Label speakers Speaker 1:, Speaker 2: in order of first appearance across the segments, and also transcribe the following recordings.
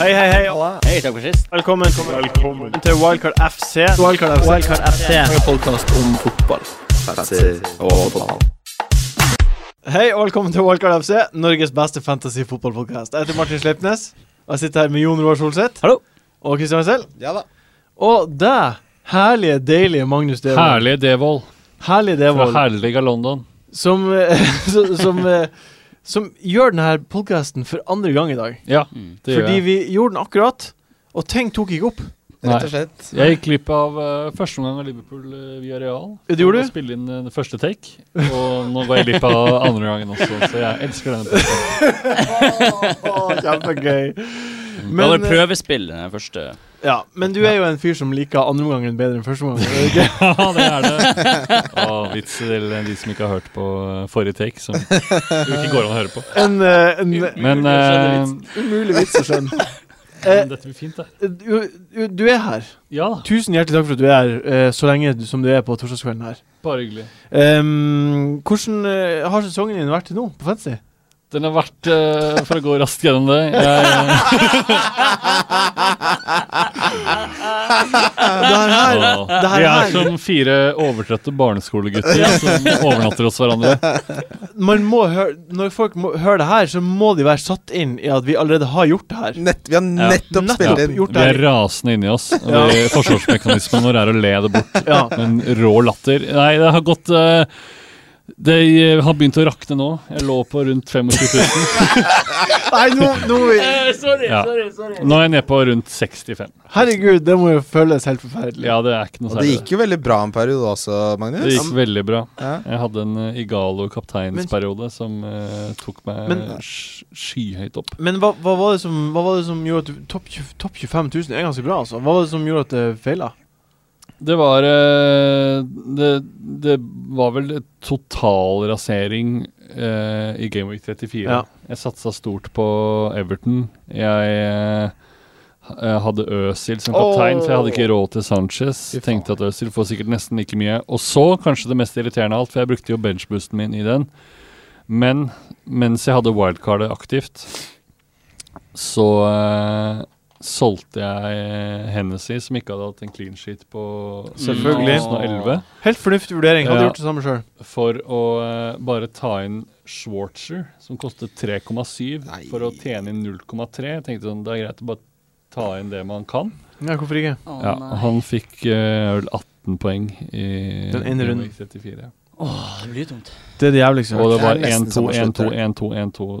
Speaker 1: Hei, hei, hei.
Speaker 2: Hei, takk for sist.
Speaker 1: Velkommen til Wildcard FC.
Speaker 3: Wildcard FC.
Speaker 1: Wildcard FC.
Speaker 3: Podkast om fotball.
Speaker 1: Hei og velkommen til Wildcard FC, Norges beste fantasy-fotballpodkast. Jeg heter Martin Sleipnes, og jeg sitter her med Jon Roar Solseth.
Speaker 2: Hallo.
Speaker 1: Og Kristian Wessel.
Speaker 4: Ja da.
Speaker 1: Og deg, herlige, deilige Magnus Devold.
Speaker 5: Herlige Devold
Speaker 1: Herlige
Speaker 5: fra
Speaker 1: Devold.
Speaker 5: herlige London.
Speaker 1: Som, som, som, eh, som gjør denne podkasten for andre gang i dag.
Speaker 5: Ja,
Speaker 2: Mm.
Speaker 5: det gjør
Speaker 1: Fordi
Speaker 5: jeg.
Speaker 1: vi gjorde den akkurat, og ting tok ikke opp.
Speaker 4: Rett og slett.
Speaker 5: Jeg gikk glipp av eh, første omgang av Liverpool eh, via Real.
Speaker 1: Det gjorde du?
Speaker 5: Jeg Spille inn eh, første take, og nå går jeg glipp av andre gangen også, så jeg elsker denne podcasten.
Speaker 1: kjempegøy.
Speaker 2: Vi hadde
Speaker 1: Men, eh,
Speaker 2: prøvespill den første.
Speaker 1: ja, men du er jo en fyr som liker andreomgangen bedre enn førsteomgangen.
Speaker 5: Ja, det er det. Og vits til de som ikke har hørt på eh, forrige take, som jo ikke går an å høre på.
Speaker 1: En, eh, en
Speaker 5: Men eh,
Speaker 1: umulig vits å skjønne. Eh,
Speaker 5: dette blir fint, det.
Speaker 1: du, du- du er her.
Speaker 5: Ja da,
Speaker 1: Tusen hjertelig takk for at du er her eh, så lenge du- som du er på torsdagskvelden her.
Speaker 5: bare hyggelig.
Speaker 1: Ehm, hvordan eh, har sesongen din vært til nå på fantasy?
Speaker 5: Den har vært, eh, for å gå raskt gjennom det jeg,
Speaker 1: Det her, her
Speaker 5: Åh,
Speaker 1: det her
Speaker 5: Vi
Speaker 1: er-
Speaker 5: er som fire overtrøtte barneskolegutter som overnatter hos hverandre.
Speaker 1: man må høre, Når folk må, hører det her, så må de være satt inn i at vi allerede har gjort det her.
Speaker 4: Nett, vi har nettopp
Speaker 1: Nettopp
Speaker 4: spilt inn.
Speaker 1: gjort
Speaker 5: Vi
Speaker 1: det
Speaker 5: er
Speaker 1: her.
Speaker 5: rasende inni oss. og
Speaker 1: Ja.
Speaker 5: vi- Forsvarsmekanismen vår er å le det bort
Speaker 1: Ja.
Speaker 5: med en rå latter. Nei, det har gått eh, Det eh, har begynt å rakne nå. Jeg lå på rundt 25 000.
Speaker 1: Nei, nå, nå
Speaker 2: sorry,
Speaker 5: Ja.
Speaker 2: sorry, sorry.
Speaker 5: Nå er jeg nede på rundt 65.
Speaker 1: Herregud, det må jo føles helt forferdelig.
Speaker 5: Ja, det er ikke noe
Speaker 4: Og det
Speaker 5: særlig.
Speaker 4: gikk jo veldig bra en periode også, Magnus.
Speaker 5: Det gikk veldig bra.
Speaker 4: Ja.
Speaker 5: Jeg hadde en eh, Igalo-kapteinsperiode som eh, tok meg
Speaker 1: Men-
Speaker 5: sk- skyhøyt opp.
Speaker 1: Men hva, hva, var det som, hva var det som gjorde at du- topp 20 topp 25 000 er ganske bra, altså? Hva var det som gjorde at det feila?
Speaker 5: Det var eh, det, det var vel totalrasering eh, i Game Week 34.
Speaker 1: Ja.
Speaker 5: Jeg satsa stort på Everton. Jeg eh, ha- eh, hadde Øzil som kaptein, for jeg hadde ikke råd til Sanchez.
Speaker 4: Fy faen.
Speaker 5: Tenkte at Øzil får sikkert nesten like mye. Og så, kanskje det mest irriterende av alt, for jeg brukte jo benchboosten min i den. Men mens jeg hadde wildcardet aktivt, så eh, solgte jeg Hennessy, som ikke hadde hatt en clean sheet på
Speaker 1: Selvfølgelig.
Speaker 5: 2011,
Speaker 1: Helt fornuftig vurdering. Hadde
Speaker 5: Ja.
Speaker 1: gjort det samme sjøl.
Speaker 5: for å eh, bare ta inn Schwarzer, som kostet 3,7,
Speaker 4: Nei.
Speaker 5: for å tjene inn 0,3. Jeg tenkte sånn, det er greit å bare ta inn det man kan.
Speaker 1: Ja, hvorfor ikke?
Speaker 2: Å,
Speaker 5: Ja,
Speaker 2: nei.
Speaker 5: han fikk eh, vel 18 poeng i
Speaker 1: Den ene
Speaker 5: i
Speaker 1: runden.
Speaker 5: week 34.
Speaker 2: Åh, det blir dumt.
Speaker 1: Det er det jævligste.
Speaker 5: Og det
Speaker 4: Det er
Speaker 5: var
Speaker 4: nesten
Speaker 5: 1-2,
Speaker 4: som å
Speaker 5: 1-2,
Speaker 4: slutte.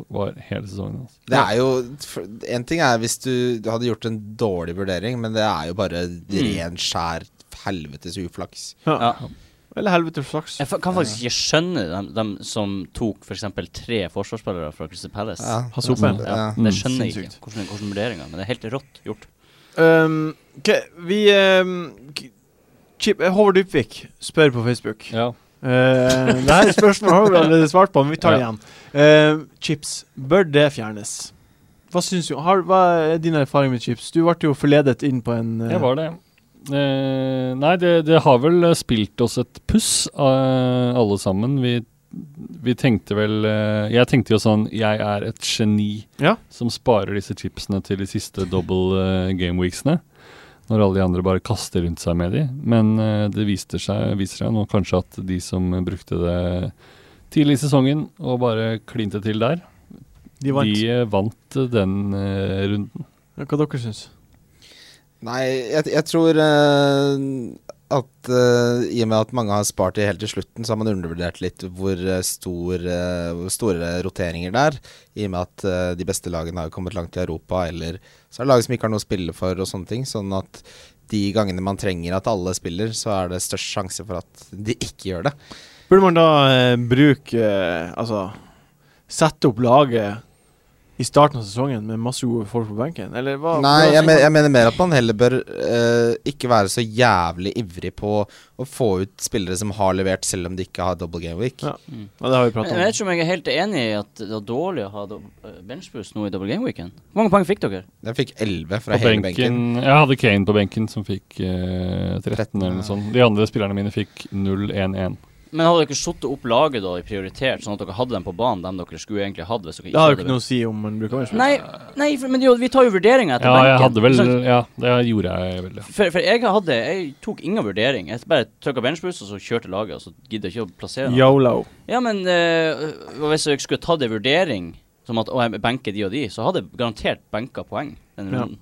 Speaker 5: 1-2, 1-2 var hele sesongen. Altså.
Speaker 4: Det er jo for- En ting er hvis du du hadde gjort en dårlig vurdering, men det er jo bare
Speaker 5: Mm.
Speaker 4: ren, skjær helvetes uflaks.
Speaker 1: Ja.
Speaker 2: Ja.
Speaker 1: Eller helvete flaks.
Speaker 2: Jeg fa- kan faktisk ikke skjønne dem, dem som tok f.eks. tre forsvarsspillere fra Crystal Palace.
Speaker 4: Ja.
Speaker 1: Hasse opp igjen.
Speaker 4: Ja.
Speaker 2: Ja, det skjønner
Speaker 1: Mm.
Speaker 2: jeg
Speaker 1: Sinnssykt.
Speaker 2: ikke. Hvordan, hvordan vurderinger, men det er helt rått gjort.
Speaker 1: Um, ok, vi um, k- Chip, eh, Håvard Dybvik spør på Facebook.
Speaker 5: Ja.
Speaker 1: Eh, det her spørsmålet har vi allerede svart på, men vi tar det
Speaker 5: Ja.
Speaker 1: igjen. Eh, chips, bør det fjernes? Hva syns du? Har, hva er din erfaring med chips? Du ble jo forledet inn på en eh,
Speaker 5: Jeg var det. Eh, nei, det, det har vel eh, spilt oss et puss, eh, alle sammen. Vi, vi tenkte vel eh, Jeg tenkte jo sånn Jeg er et geni
Speaker 1: Ja.
Speaker 5: som sparer disse chipsene til de siste double eh, game weeksene. Når alle de andre bare kaster rundt seg med de. Men eh, det viste seg, viser seg nå kanskje at de som brukte det tidlig i sesongen og bare klinte til der,
Speaker 1: De vant.
Speaker 5: de eh, vant den eh, runden.
Speaker 1: Ja, Hva dere syns?
Speaker 4: Nei, jeg, jeg tror eh, at eh, i og med at mange har spart det helt til slutten, så har man undervurdert litt hvor, eh, stor, eh, hvor store roteringer det er. I og med at eh, de beste lagene har jo kommet langt i Europa, eller så er det lag som ikke har noe å spille for og sånne ting. Sånn at de gangene man trenger at alle spiller, så er det størst sjanse for at de ikke gjør det.
Speaker 1: Burde man da eh, bruke eh, Altså sette opp laget i starten av sesongen med masse gode folk på benken, eller hva?
Speaker 4: Nei,
Speaker 1: hva-
Speaker 4: jeg, men, jeg mener mer at man heller bør eh, ikke være så jævlig ivrig på å få ut spillere som har levert, selv om de ikke har double game week.
Speaker 1: Ja. Ja, det har vi pratet om.
Speaker 2: Men jeg vet ikke om jeg er helt enig i at det var dårlig å ha do- eh, benchboost nå i double game weekend. Hvor mange poeng fikk dere?
Speaker 4: Jeg fikk 11 fra
Speaker 5: På
Speaker 4: hele
Speaker 5: benken,
Speaker 4: benken.
Speaker 5: Jeg hadde Kane på benken, som fikk eh, 13 eller noe sånt. De andre spillerne mine fikk 0-1-1.
Speaker 2: Men hadde dere satt opp laget da i prioritert, sånn at dere hadde dem på banen, dem dere skulle egentlig hatt hvis dere
Speaker 1: Det
Speaker 2: ikke
Speaker 1: har jo
Speaker 2: hadde
Speaker 1: ikke noe å si om man bruker benchboost.
Speaker 2: Nei, nei for, men det er jo, vi tar jo vurderinger etter
Speaker 5: Ja, jeg hadde vel
Speaker 2: Sånn,
Speaker 5: Ja, det gjorde jeg vel, ja.
Speaker 2: For, for jeg hadde Jeg tok ingen vurdering. Jeg bare trykka benchboost, og så kjørte laget, og så gidder jeg ikke å plassere dem.
Speaker 1: Yolo.
Speaker 2: Ja, men eh, og hvis jeg skulle tatt en vurdering som at å, jeg benker de og de, så hadde jeg garantert benka poeng den
Speaker 1: Ja.
Speaker 2: runden.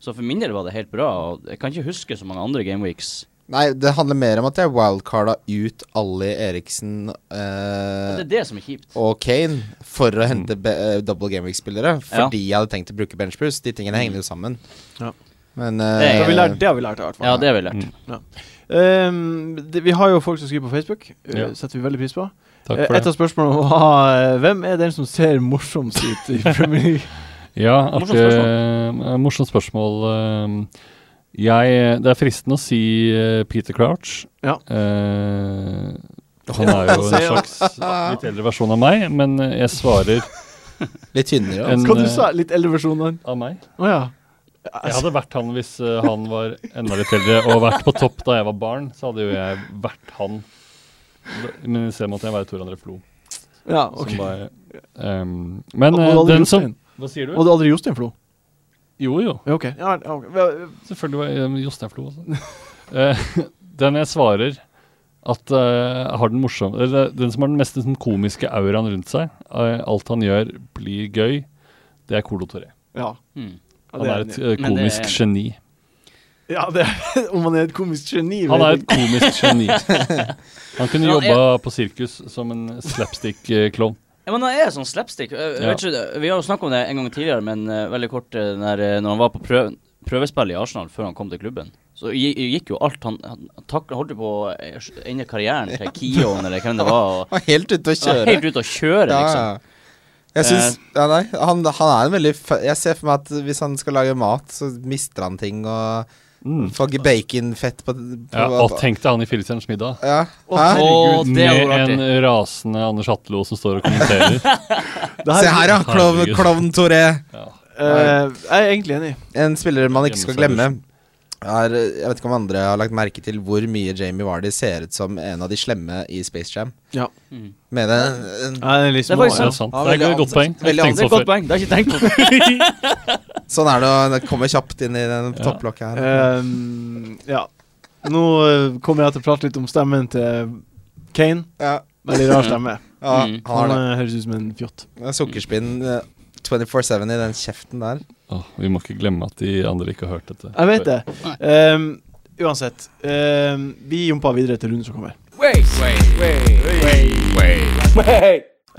Speaker 2: Så for min del var det helt bra. Og jeg kan ikke huske så mange andre gameweeks.
Speaker 4: Nei, det handler mer om at jeg wildcarda ut Ali Eriksen eh,
Speaker 2: Det er det som er kjipt.
Speaker 4: og Kane for å hente
Speaker 5: Mm.
Speaker 4: be eh, double gameweek-spillere.
Speaker 2: Ja. Mm.
Speaker 4: Fordi jeg hadde tenkt å bruke benchboost. De tingene henger jo sammen.
Speaker 1: Ja.
Speaker 4: Men
Speaker 2: Det
Speaker 1: Det
Speaker 4: eh,
Speaker 1: har vi lært, det har vi lært i hvert fall.
Speaker 2: Ja, det har vi lært.
Speaker 5: Mm.
Speaker 1: Ehm, det, vi har jo folk som skriver på Facebook. eh,
Speaker 5: Ja.
Speaker 1: setter vi veldig pris på.
Speaker 5: Takk
Speaker 1: Eh,
Speaker 5: for
Speaker 1: Et
Speaker 5: det.
Speaker 1: av spørsmålene var eh, hvem er den som ser morsomst ut i Premier League?
Speaker 5: Ja, at,
Speaker 2: Morsomt
Speaker 5: eh, morsomt spørsmål. eh, jeg, det er fristende å si eh, Peter Crouch.
Speaker 1: Ja.
Speaker 5: Eh, han er jo en slags litt eldre versjon av meg, men eh, jeg svarer
Speaker 4: litt tynnere. også.
Speaker 5: en,
Speaker 1: Hva du
Speaker 5: eh,
Speaker 1: sa Litt eldre versjon av den?
Speaker 5: av meg.
Speaker 1: Å ja.
Speaker 5: Jeg hadde vært han hvis eh, han var enda litt eldre og vært på topp da jeg var barn. Så hadde jo jeg vært han. Men i stedet måtte jeg være Tor André Flo.
Speaker 1: ja
Speaker 5: som
Speaker 1: ok.
Speaker 5: var, ehm, men
Speaker 1: Og
Speaker 5: eh,
Speaker 1: du hadde
Speaker 5: den som
Speaker 1: Jostein.
Speaker 5: Hva sier
Speaker 1: Og
Speaker 5: du?
Speaker 1: du hadde Jostein Flo?
Speaker 5: Jo, jo.
Speaker 1: Ja, ok. Ja, ja, ok. Vel,
Speaker 5: Selvfølgelig var eh, Jostein Flo også. Eh, den jeg svarer at eh, har den morsom eller Den som har den mest liksom, komiske auraen rundt seg, eh, alt han gjør blir gøy, det er Colo Toré.
Speaker 1: Ja.
Speaker 2: Mm.
Speaker 1: Ja,
Speaker 5: Hmm. Han
Speaker 1: det enig i.
Speaker 2: Men
Speaker 5: er et eh,
Speaker 2: det
Speaker 5: komisk
Speaker 2: er-
Speaker 5: geni.
Speaker 1: ja, det er, Om han er et komisk geni
Speaker 5: Han er
Speaker 1: vet
Speaker 5: et komisk geni. Han kunne
Speaker 2: Ja,
Speaker 5: jobba på sirkus som en slapstick-klovn.
Speaker 2: Ja, men han er sånn slapstick. Jeg, jeg
Speaker 5: Ja.
Speaker 2: vet ikke, det- vi har jo snakka om det en gang tidligere, men eh, veldig kort eh, den der, eh, Når han var på prøv, prøvespill i Arsenal før han kom til klubben, så gi- gikk jo alt. Han, han takla, holdt jo på å eh, ende karrieren til Kion eller hvem det var. Og,
Speaker 4: Han var helt ute å
Speaker 2: han var
Speaker 4: kjøre.
Speaker 2: helt ute å kjøre, liksom. Eh.
Speaker 4: Jeg syns ja, nei, han, han er en veldig fø- Jeg ser for meg at hvis han skal lage mat, så mister han ting og
Speaker 5: Mm.
Speaker 4: får ikke baconfett på, på
Speaker 5: Ja, og tenk deg han i Filistjerners middag.
Speaker 4: ja.
Speaker 2: Å,
Speaker 4: Hæ?
Speaker 2: det hadde
Speaker 5: Med
Speaker 2: vært
Speaker 5: en
Speaker 2: artig.
Speaker 5: rasende Anders Hatlo som står og
Speaker 1: du.
Speaker 5: kommenterer.
Speaker 1: Det her-
Speaker 4: Se her, ja. Klovn,
Speaker 5: Herregud.
Speaker 4: klovn Toré.
Speaker 1: Eh, jeg er egentlig enig.
Speaker 4: En spiller man ikke skal glemme.
Speaker 5: Hjemmesøkelsen.
Speaker 4: Er, jeg vet ikke om andre har lagt merke til hvor mye Jamie Vardy ser ut som en av de slemme i Space Jam.
Speaker 1: Ja.
Speaker 2: Mm.
Speaker 4: Med en, en,
Speaker 1: Jeg er litt
Speaker 2: Det er
Speaker 1: små,
Speaker 2: faktisk
Speaker 5: Ja,
Speaker 1: ja.
Speaker 5: det er sant.
Speaker 4: Ja,
Speaker 5: Det er
Speaker 4: veldig
Speaker 5: et godt
Speaker 4: ansikt-
Speaker 5: poeng. Ikke
Speaker 4: veldig
Speaker 5: tenkt
Speaker 2: Det er et
Speaker 5: på
Speaker 2: godt
Speaker 5: før.
Speaker 2: poeng. Det har jeg ikke tenkt på.
Speaker 4: sånn er det å det kommer kjapt inn i den
Speaker 5: Ja.
Speaker 4: topplokket
Speaker 1: Eh,
Speaker 4: her.
Speaker 1: Ehm, ja. Nå eh, kommer jeg til å prate litt om stemmen til Kane.
Speaker 4: Ja,
Speaker 1: Veldig rar stemme.
Speaker 4: ja,
Speaker 2: Mm.
Speaker 4: han
Speaker 1: Han
Speaker 4: har det.
Speaker 1: eh, høres ut som en fjott.
Speaker 4: Det er Sukkerspinn eh, 24-7 i den kjeften der.
Speaker 5: Åh, vi må ikke glemme at de andre ikke har hørt dette.
Speaker 1: Jeg vet det. Ehm, uansett. Ehm, vi jumper videre til runden som kommer.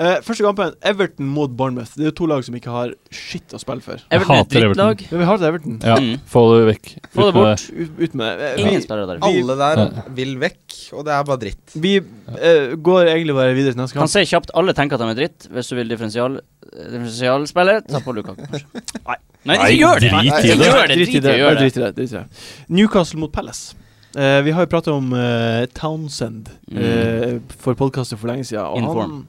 Speaker 1: Eh, første kampen, Everton mot Bournemouth. Det er jo to lag som ikke har skitt å spille for.
Speaker 5: Jeg
Speaker 2: Everton er et
Speaker 5: hater Everton.
Speaker 2: drittlag.
Speaker 1: Men vi har til Everton.
Speaker 5: Ja,
Speaker 2: Mm.
Speaker 5: få det vekk.
Speaker 2: Få det
Speaker 5: Ut med
Speaker 2: bort.
Speaker 1: Ut, ut med det. Eh,
Speaker 2: Ingen spillere der.
Speaker 1: Vi-
Speaker 4: Alle der
Speaker 5: Ja.
Speaker 4: vil vekk, og det er bare dritt.
Speaker 1: Vi, vi eh, går egentlig bare videre til neste
Speaker 2: Kan
Speaker 1: kamp.
Speaker 2: si kjapt alle tenker at de er dritt. Hvis du vil differensial, eh, differensialspiller, ta på Lukaku, kanskje.
Speaker 1: Nei.
Speaker 2: Nei,
Speaker 5: Nei,
Speaker 2: ikke gjør det!
Speaker 5: drit i
Speaker 2: Ikke
Speaker 5: det.
Speaker 2: gjør det. Drit i det.
Speaker 1: bare
Speaker 2: Gjør det.
Speaker 1: Drit i det. Drit i det. Newcastle mot Palace. Eh, vi har jo prata om eh, Townsend eh, for podkaster for lenge siden. Og
Speaker 2: In
Speaker 1: han
Speaker 2: form.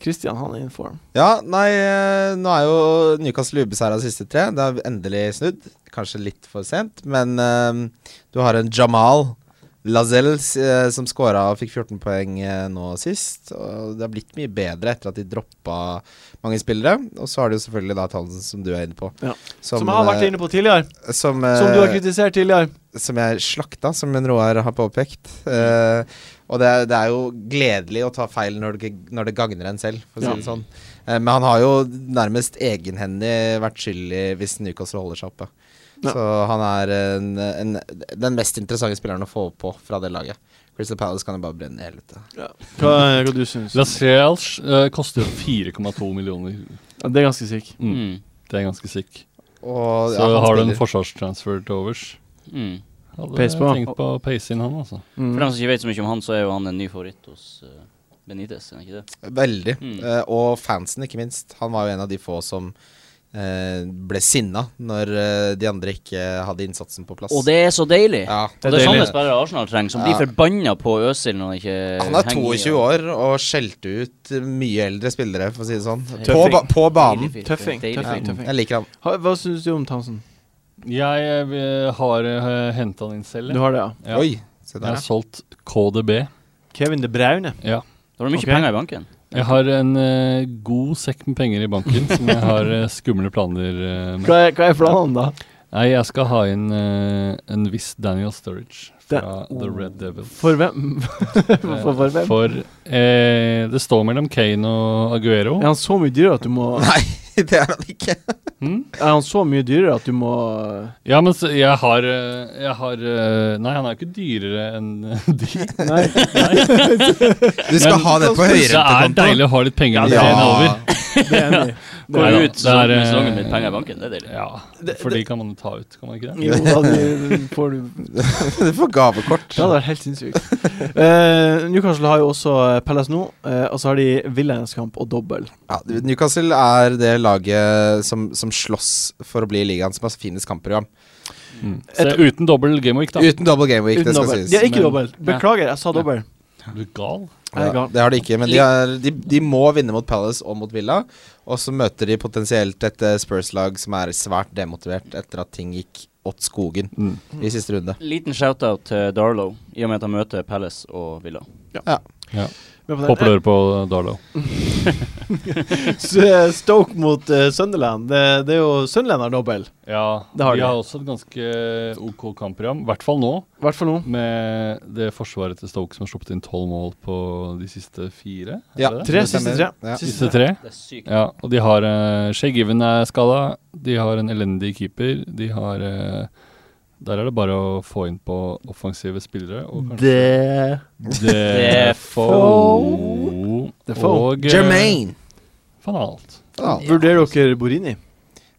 Speaker 1: Christian, han er in form.
Speaker 4: Ja, nei, eh, nå er jo Newcastle ubeseira de siste tre. Det har endelig snudd. Kanskje litt for sent, men eh, du har en Jamal Lazelles eh, som scora og fikk 14 poeng eh, nå sist. Og det har blitt mye bedre etter at de droppa mange spillere. Og så har du jo selvfølgelig da Tallsen, som du er inne på.
Speaker 1: Ja. Som, jeg har vært inne på tidligere.
Speaker 4: på som,
Speaker 1: Som du har
Speaker 4: eh,
Speaker 1: kritisert tidligere.
Speaker 4: som jeg slakta, som en Roar har påpekt. Eh, og det er, det er jo gledelig å ta feil når det, g- når det gagner en selv, for å si
Speaker 1: Ja.
Speaker 4: det sånn. Eh, men han har jo nærmest egenhendig vært skyldig hvis Newcastle holder seg oppe.
Speaker 1: Ja.
Speaker 4: Så han er en, en, den mest interessante spilleren å få på fra det laget. Crystal Palace kan jo bare brenne i helvete.
Speaker 1: Hva, hva du syns du?
Speaker 5: Lascelles uh, koster jo 4,2 millioner.
Speaker 1: Ja, det er ganske sick.
Speaker 5: Mm.
Speaker 2: Mm.
Speaker 5: Det er ganske sick. Så
Speaker 4: Og, ja, han
Speaker 5: har du en
Speaker 4: spiller.
Speaker 5: forsvarstransfer til overs.
Speaker 2: Mm.
Speaker 5: Hadde
Speaker 1: Pace på.
Speaker 5: tenkt på å pace inn han, altså.
Speaker 1: Mm.
Speaker 2: For dem som ikke vet så mye om han, så er jo han en ny favoritt hos eh, Benitez, er han ikke det?
Speaker 4: Veldig.
Speaker 2: Mm.
Speaker 4: Eh, og fansen, ikke minst. Han var jo en av de få som eh, ble sinna når eh, de andre ikke hadde innsatsen på plass.
Speaker 2: Og det er så deilig!
Speaker 4: ja.
Speaker 2: Og det
Speaker 1: deilig.
Speaker 2: er sånne spillere Arsenal trenger, som blir
Speaker 4: Ja.
Speaker 2: forbanna på Øzil når han ikke
Speaker 4: Han er
Speaker 2: eh, henger i,
Speaker 4: 22
Speaker 2: og-
Speaker 4: år og skjelte ut mye eldre spillere, for å si det sånn.
Speaker 2: Tøffing.
Speaker 4: På, ba på banen.
Speaker 2: Deilig fyr.
Speaker 1: Tøffing.
Speaker 2: Deilig
Speaker 4: Ja,
Speaker 1: Tøffing,
Speaker 2: fyr.
Speaker 1: tøffing.
Speaker 4: jeg liker han.
Speaker 1: Ha, hva syns du om Townsend?
Speaker 5: Jeg eh, har uh, henta han inn selv.
Speaker 1: Du
Speaker 5: jeg.
Speaker 1: har det, ja?
Speaker 5: Ja.
Speaker 4: Oi, se
Speaker 5: Jeg
Speaker 4: der.
Speaker 5: har solgt KDB.
Speaker 1: Kevin De Braune.
Speaker 5: Ja.
Speaker 2: Da har du mye
Speaker 1: Ok.
Speaker 2: penger i banken.
Speaker 5: Jeg har en eh, god sekk med penger i banken som jeg har eh, skumle planer eh, med.
Speaker 1: Hva er, hva er planen, da?
Speaker 5: Nei, jeg skal ha inn eh, en viss Daniel Sturridge fra
Speaker 1: Da-
Speaker 5: The Red Devils.
Speaker 1: For hvem? for, for hvem?
Speaker 5: For eh, det står mellom Kane og Aguero.
Speaker 1: Er han så mye dyrere at du må
Speaker 4: Nei, det er han ikke.
Speaker 5: Hm?
Speaker 1: Er han så mye dyrere at du må
Speaker 5: Ja, men så, jeg har, eh, jeg har eh, Nei, han er jo ikke dyrere enn eh, de.
Speaker 1: Nei.
Speaker 4: Du skal
Speaker 5: Men-
Speaker 4: ha det på
Speaker 5: Det er
Speaker 4: høyrentekonto.
Speaker 5: deilig å ha litt penger når
Speaker 4: Ja.
Speaker 5: serien er over.
Speaker 1: Det er enig.
Speaker 2: Går
Speaker 5: Nei da,
Speaker 2: du ut
Speaker 5: det
Speaker 2: sesongen
Speaker 5: er,
Speaker 2: med
Speaker 5: eh,
Speaker 2: sesongen med penger i banken, det er deilig.
Speaker 5: Ja,
Speaker 1: Det-
Speaker 5: for de kan man jo ta ut, kan man ikke det?
Speaker 1: Jo, da det- får du
Speaker 4: Du får gavekort.
Speaker 1: Ja, det er helt sinnssykt. Eh, Newcastle har jo også eh, Palace nå, eh, og så har de Villainskamp og dobbel.
Speaker 4: Ja, Newcastle er det laget som, som slåss for å bli ligaen som har finest kampprogram.
Speaker 5: Så jeg, uten dobbel gameweek, da.
Speaker 4: Uten double game week,
Speaker 1: Uten
Speaker 4: det skal
Speaker 1: dobbel.
Speaker 4: sies.
Speaker 1: De har ikke
Speaker 5: men-
Speaker 1: dobbel. Beklager, jeg sa dobbel.
Speaker 5: Er du gal?
Speaker 1: Jeg er
Speaker 4: Ja,
Speaker 1: gal.
Speaker 4: det har de ikke, men de, er, de, de må vinne mot Palace og mot Villa. Og så møter de potensielt et eh, Spurs-lag som er svært demotivert etter at ting gikk åt skogen i siste runde.
Speaker 2: Liten shout-out til Darlow, i og med at han møter Palace og Villa.
Speaker 1: Med på den.
Speaker 5: Håper du hører på Darlow.
Speaker 1: S- eh, Stoke mot eh, Sunderland. Det, det er jo Sunderland har dobbel.
Speaker 5: Ja,
Speaker 1: Det har
Speaker 5: de
Speaker 1: de.
Speaker 5: har også et ganske OK kampprogram, i hvert fall nå,
Speaker 1: I hvert fall nå.
Speaker 5: med det forsvaret til Stoke som har sluppet inn tolv mål på de siste fire. er
Speaker 4: Ja,
Speaker 5: det det?
Speaker 1: Tre,
Speaker 4: Det
Speaker 1: siste tre.
Speaker 4: stemmer. Ja.
Speaker 5: Siste tre.
Speaker 2: Det er sykt.
Speaker 5: Ja, og de har uh, Shay Given er skada, de har en elendig keeper, de har eh, Der er det bare å få inn på offensive spillere. Og
Speaker 1: Det
Speaker 5: Defoe
Speaker 1: Defoe.
Speaker 5: og eh,
Speaker 4: Jermaine!
Speaker 5: Van Alt.
Speaker 4: Ja.
Speaker 1: Vurderer dere Borini?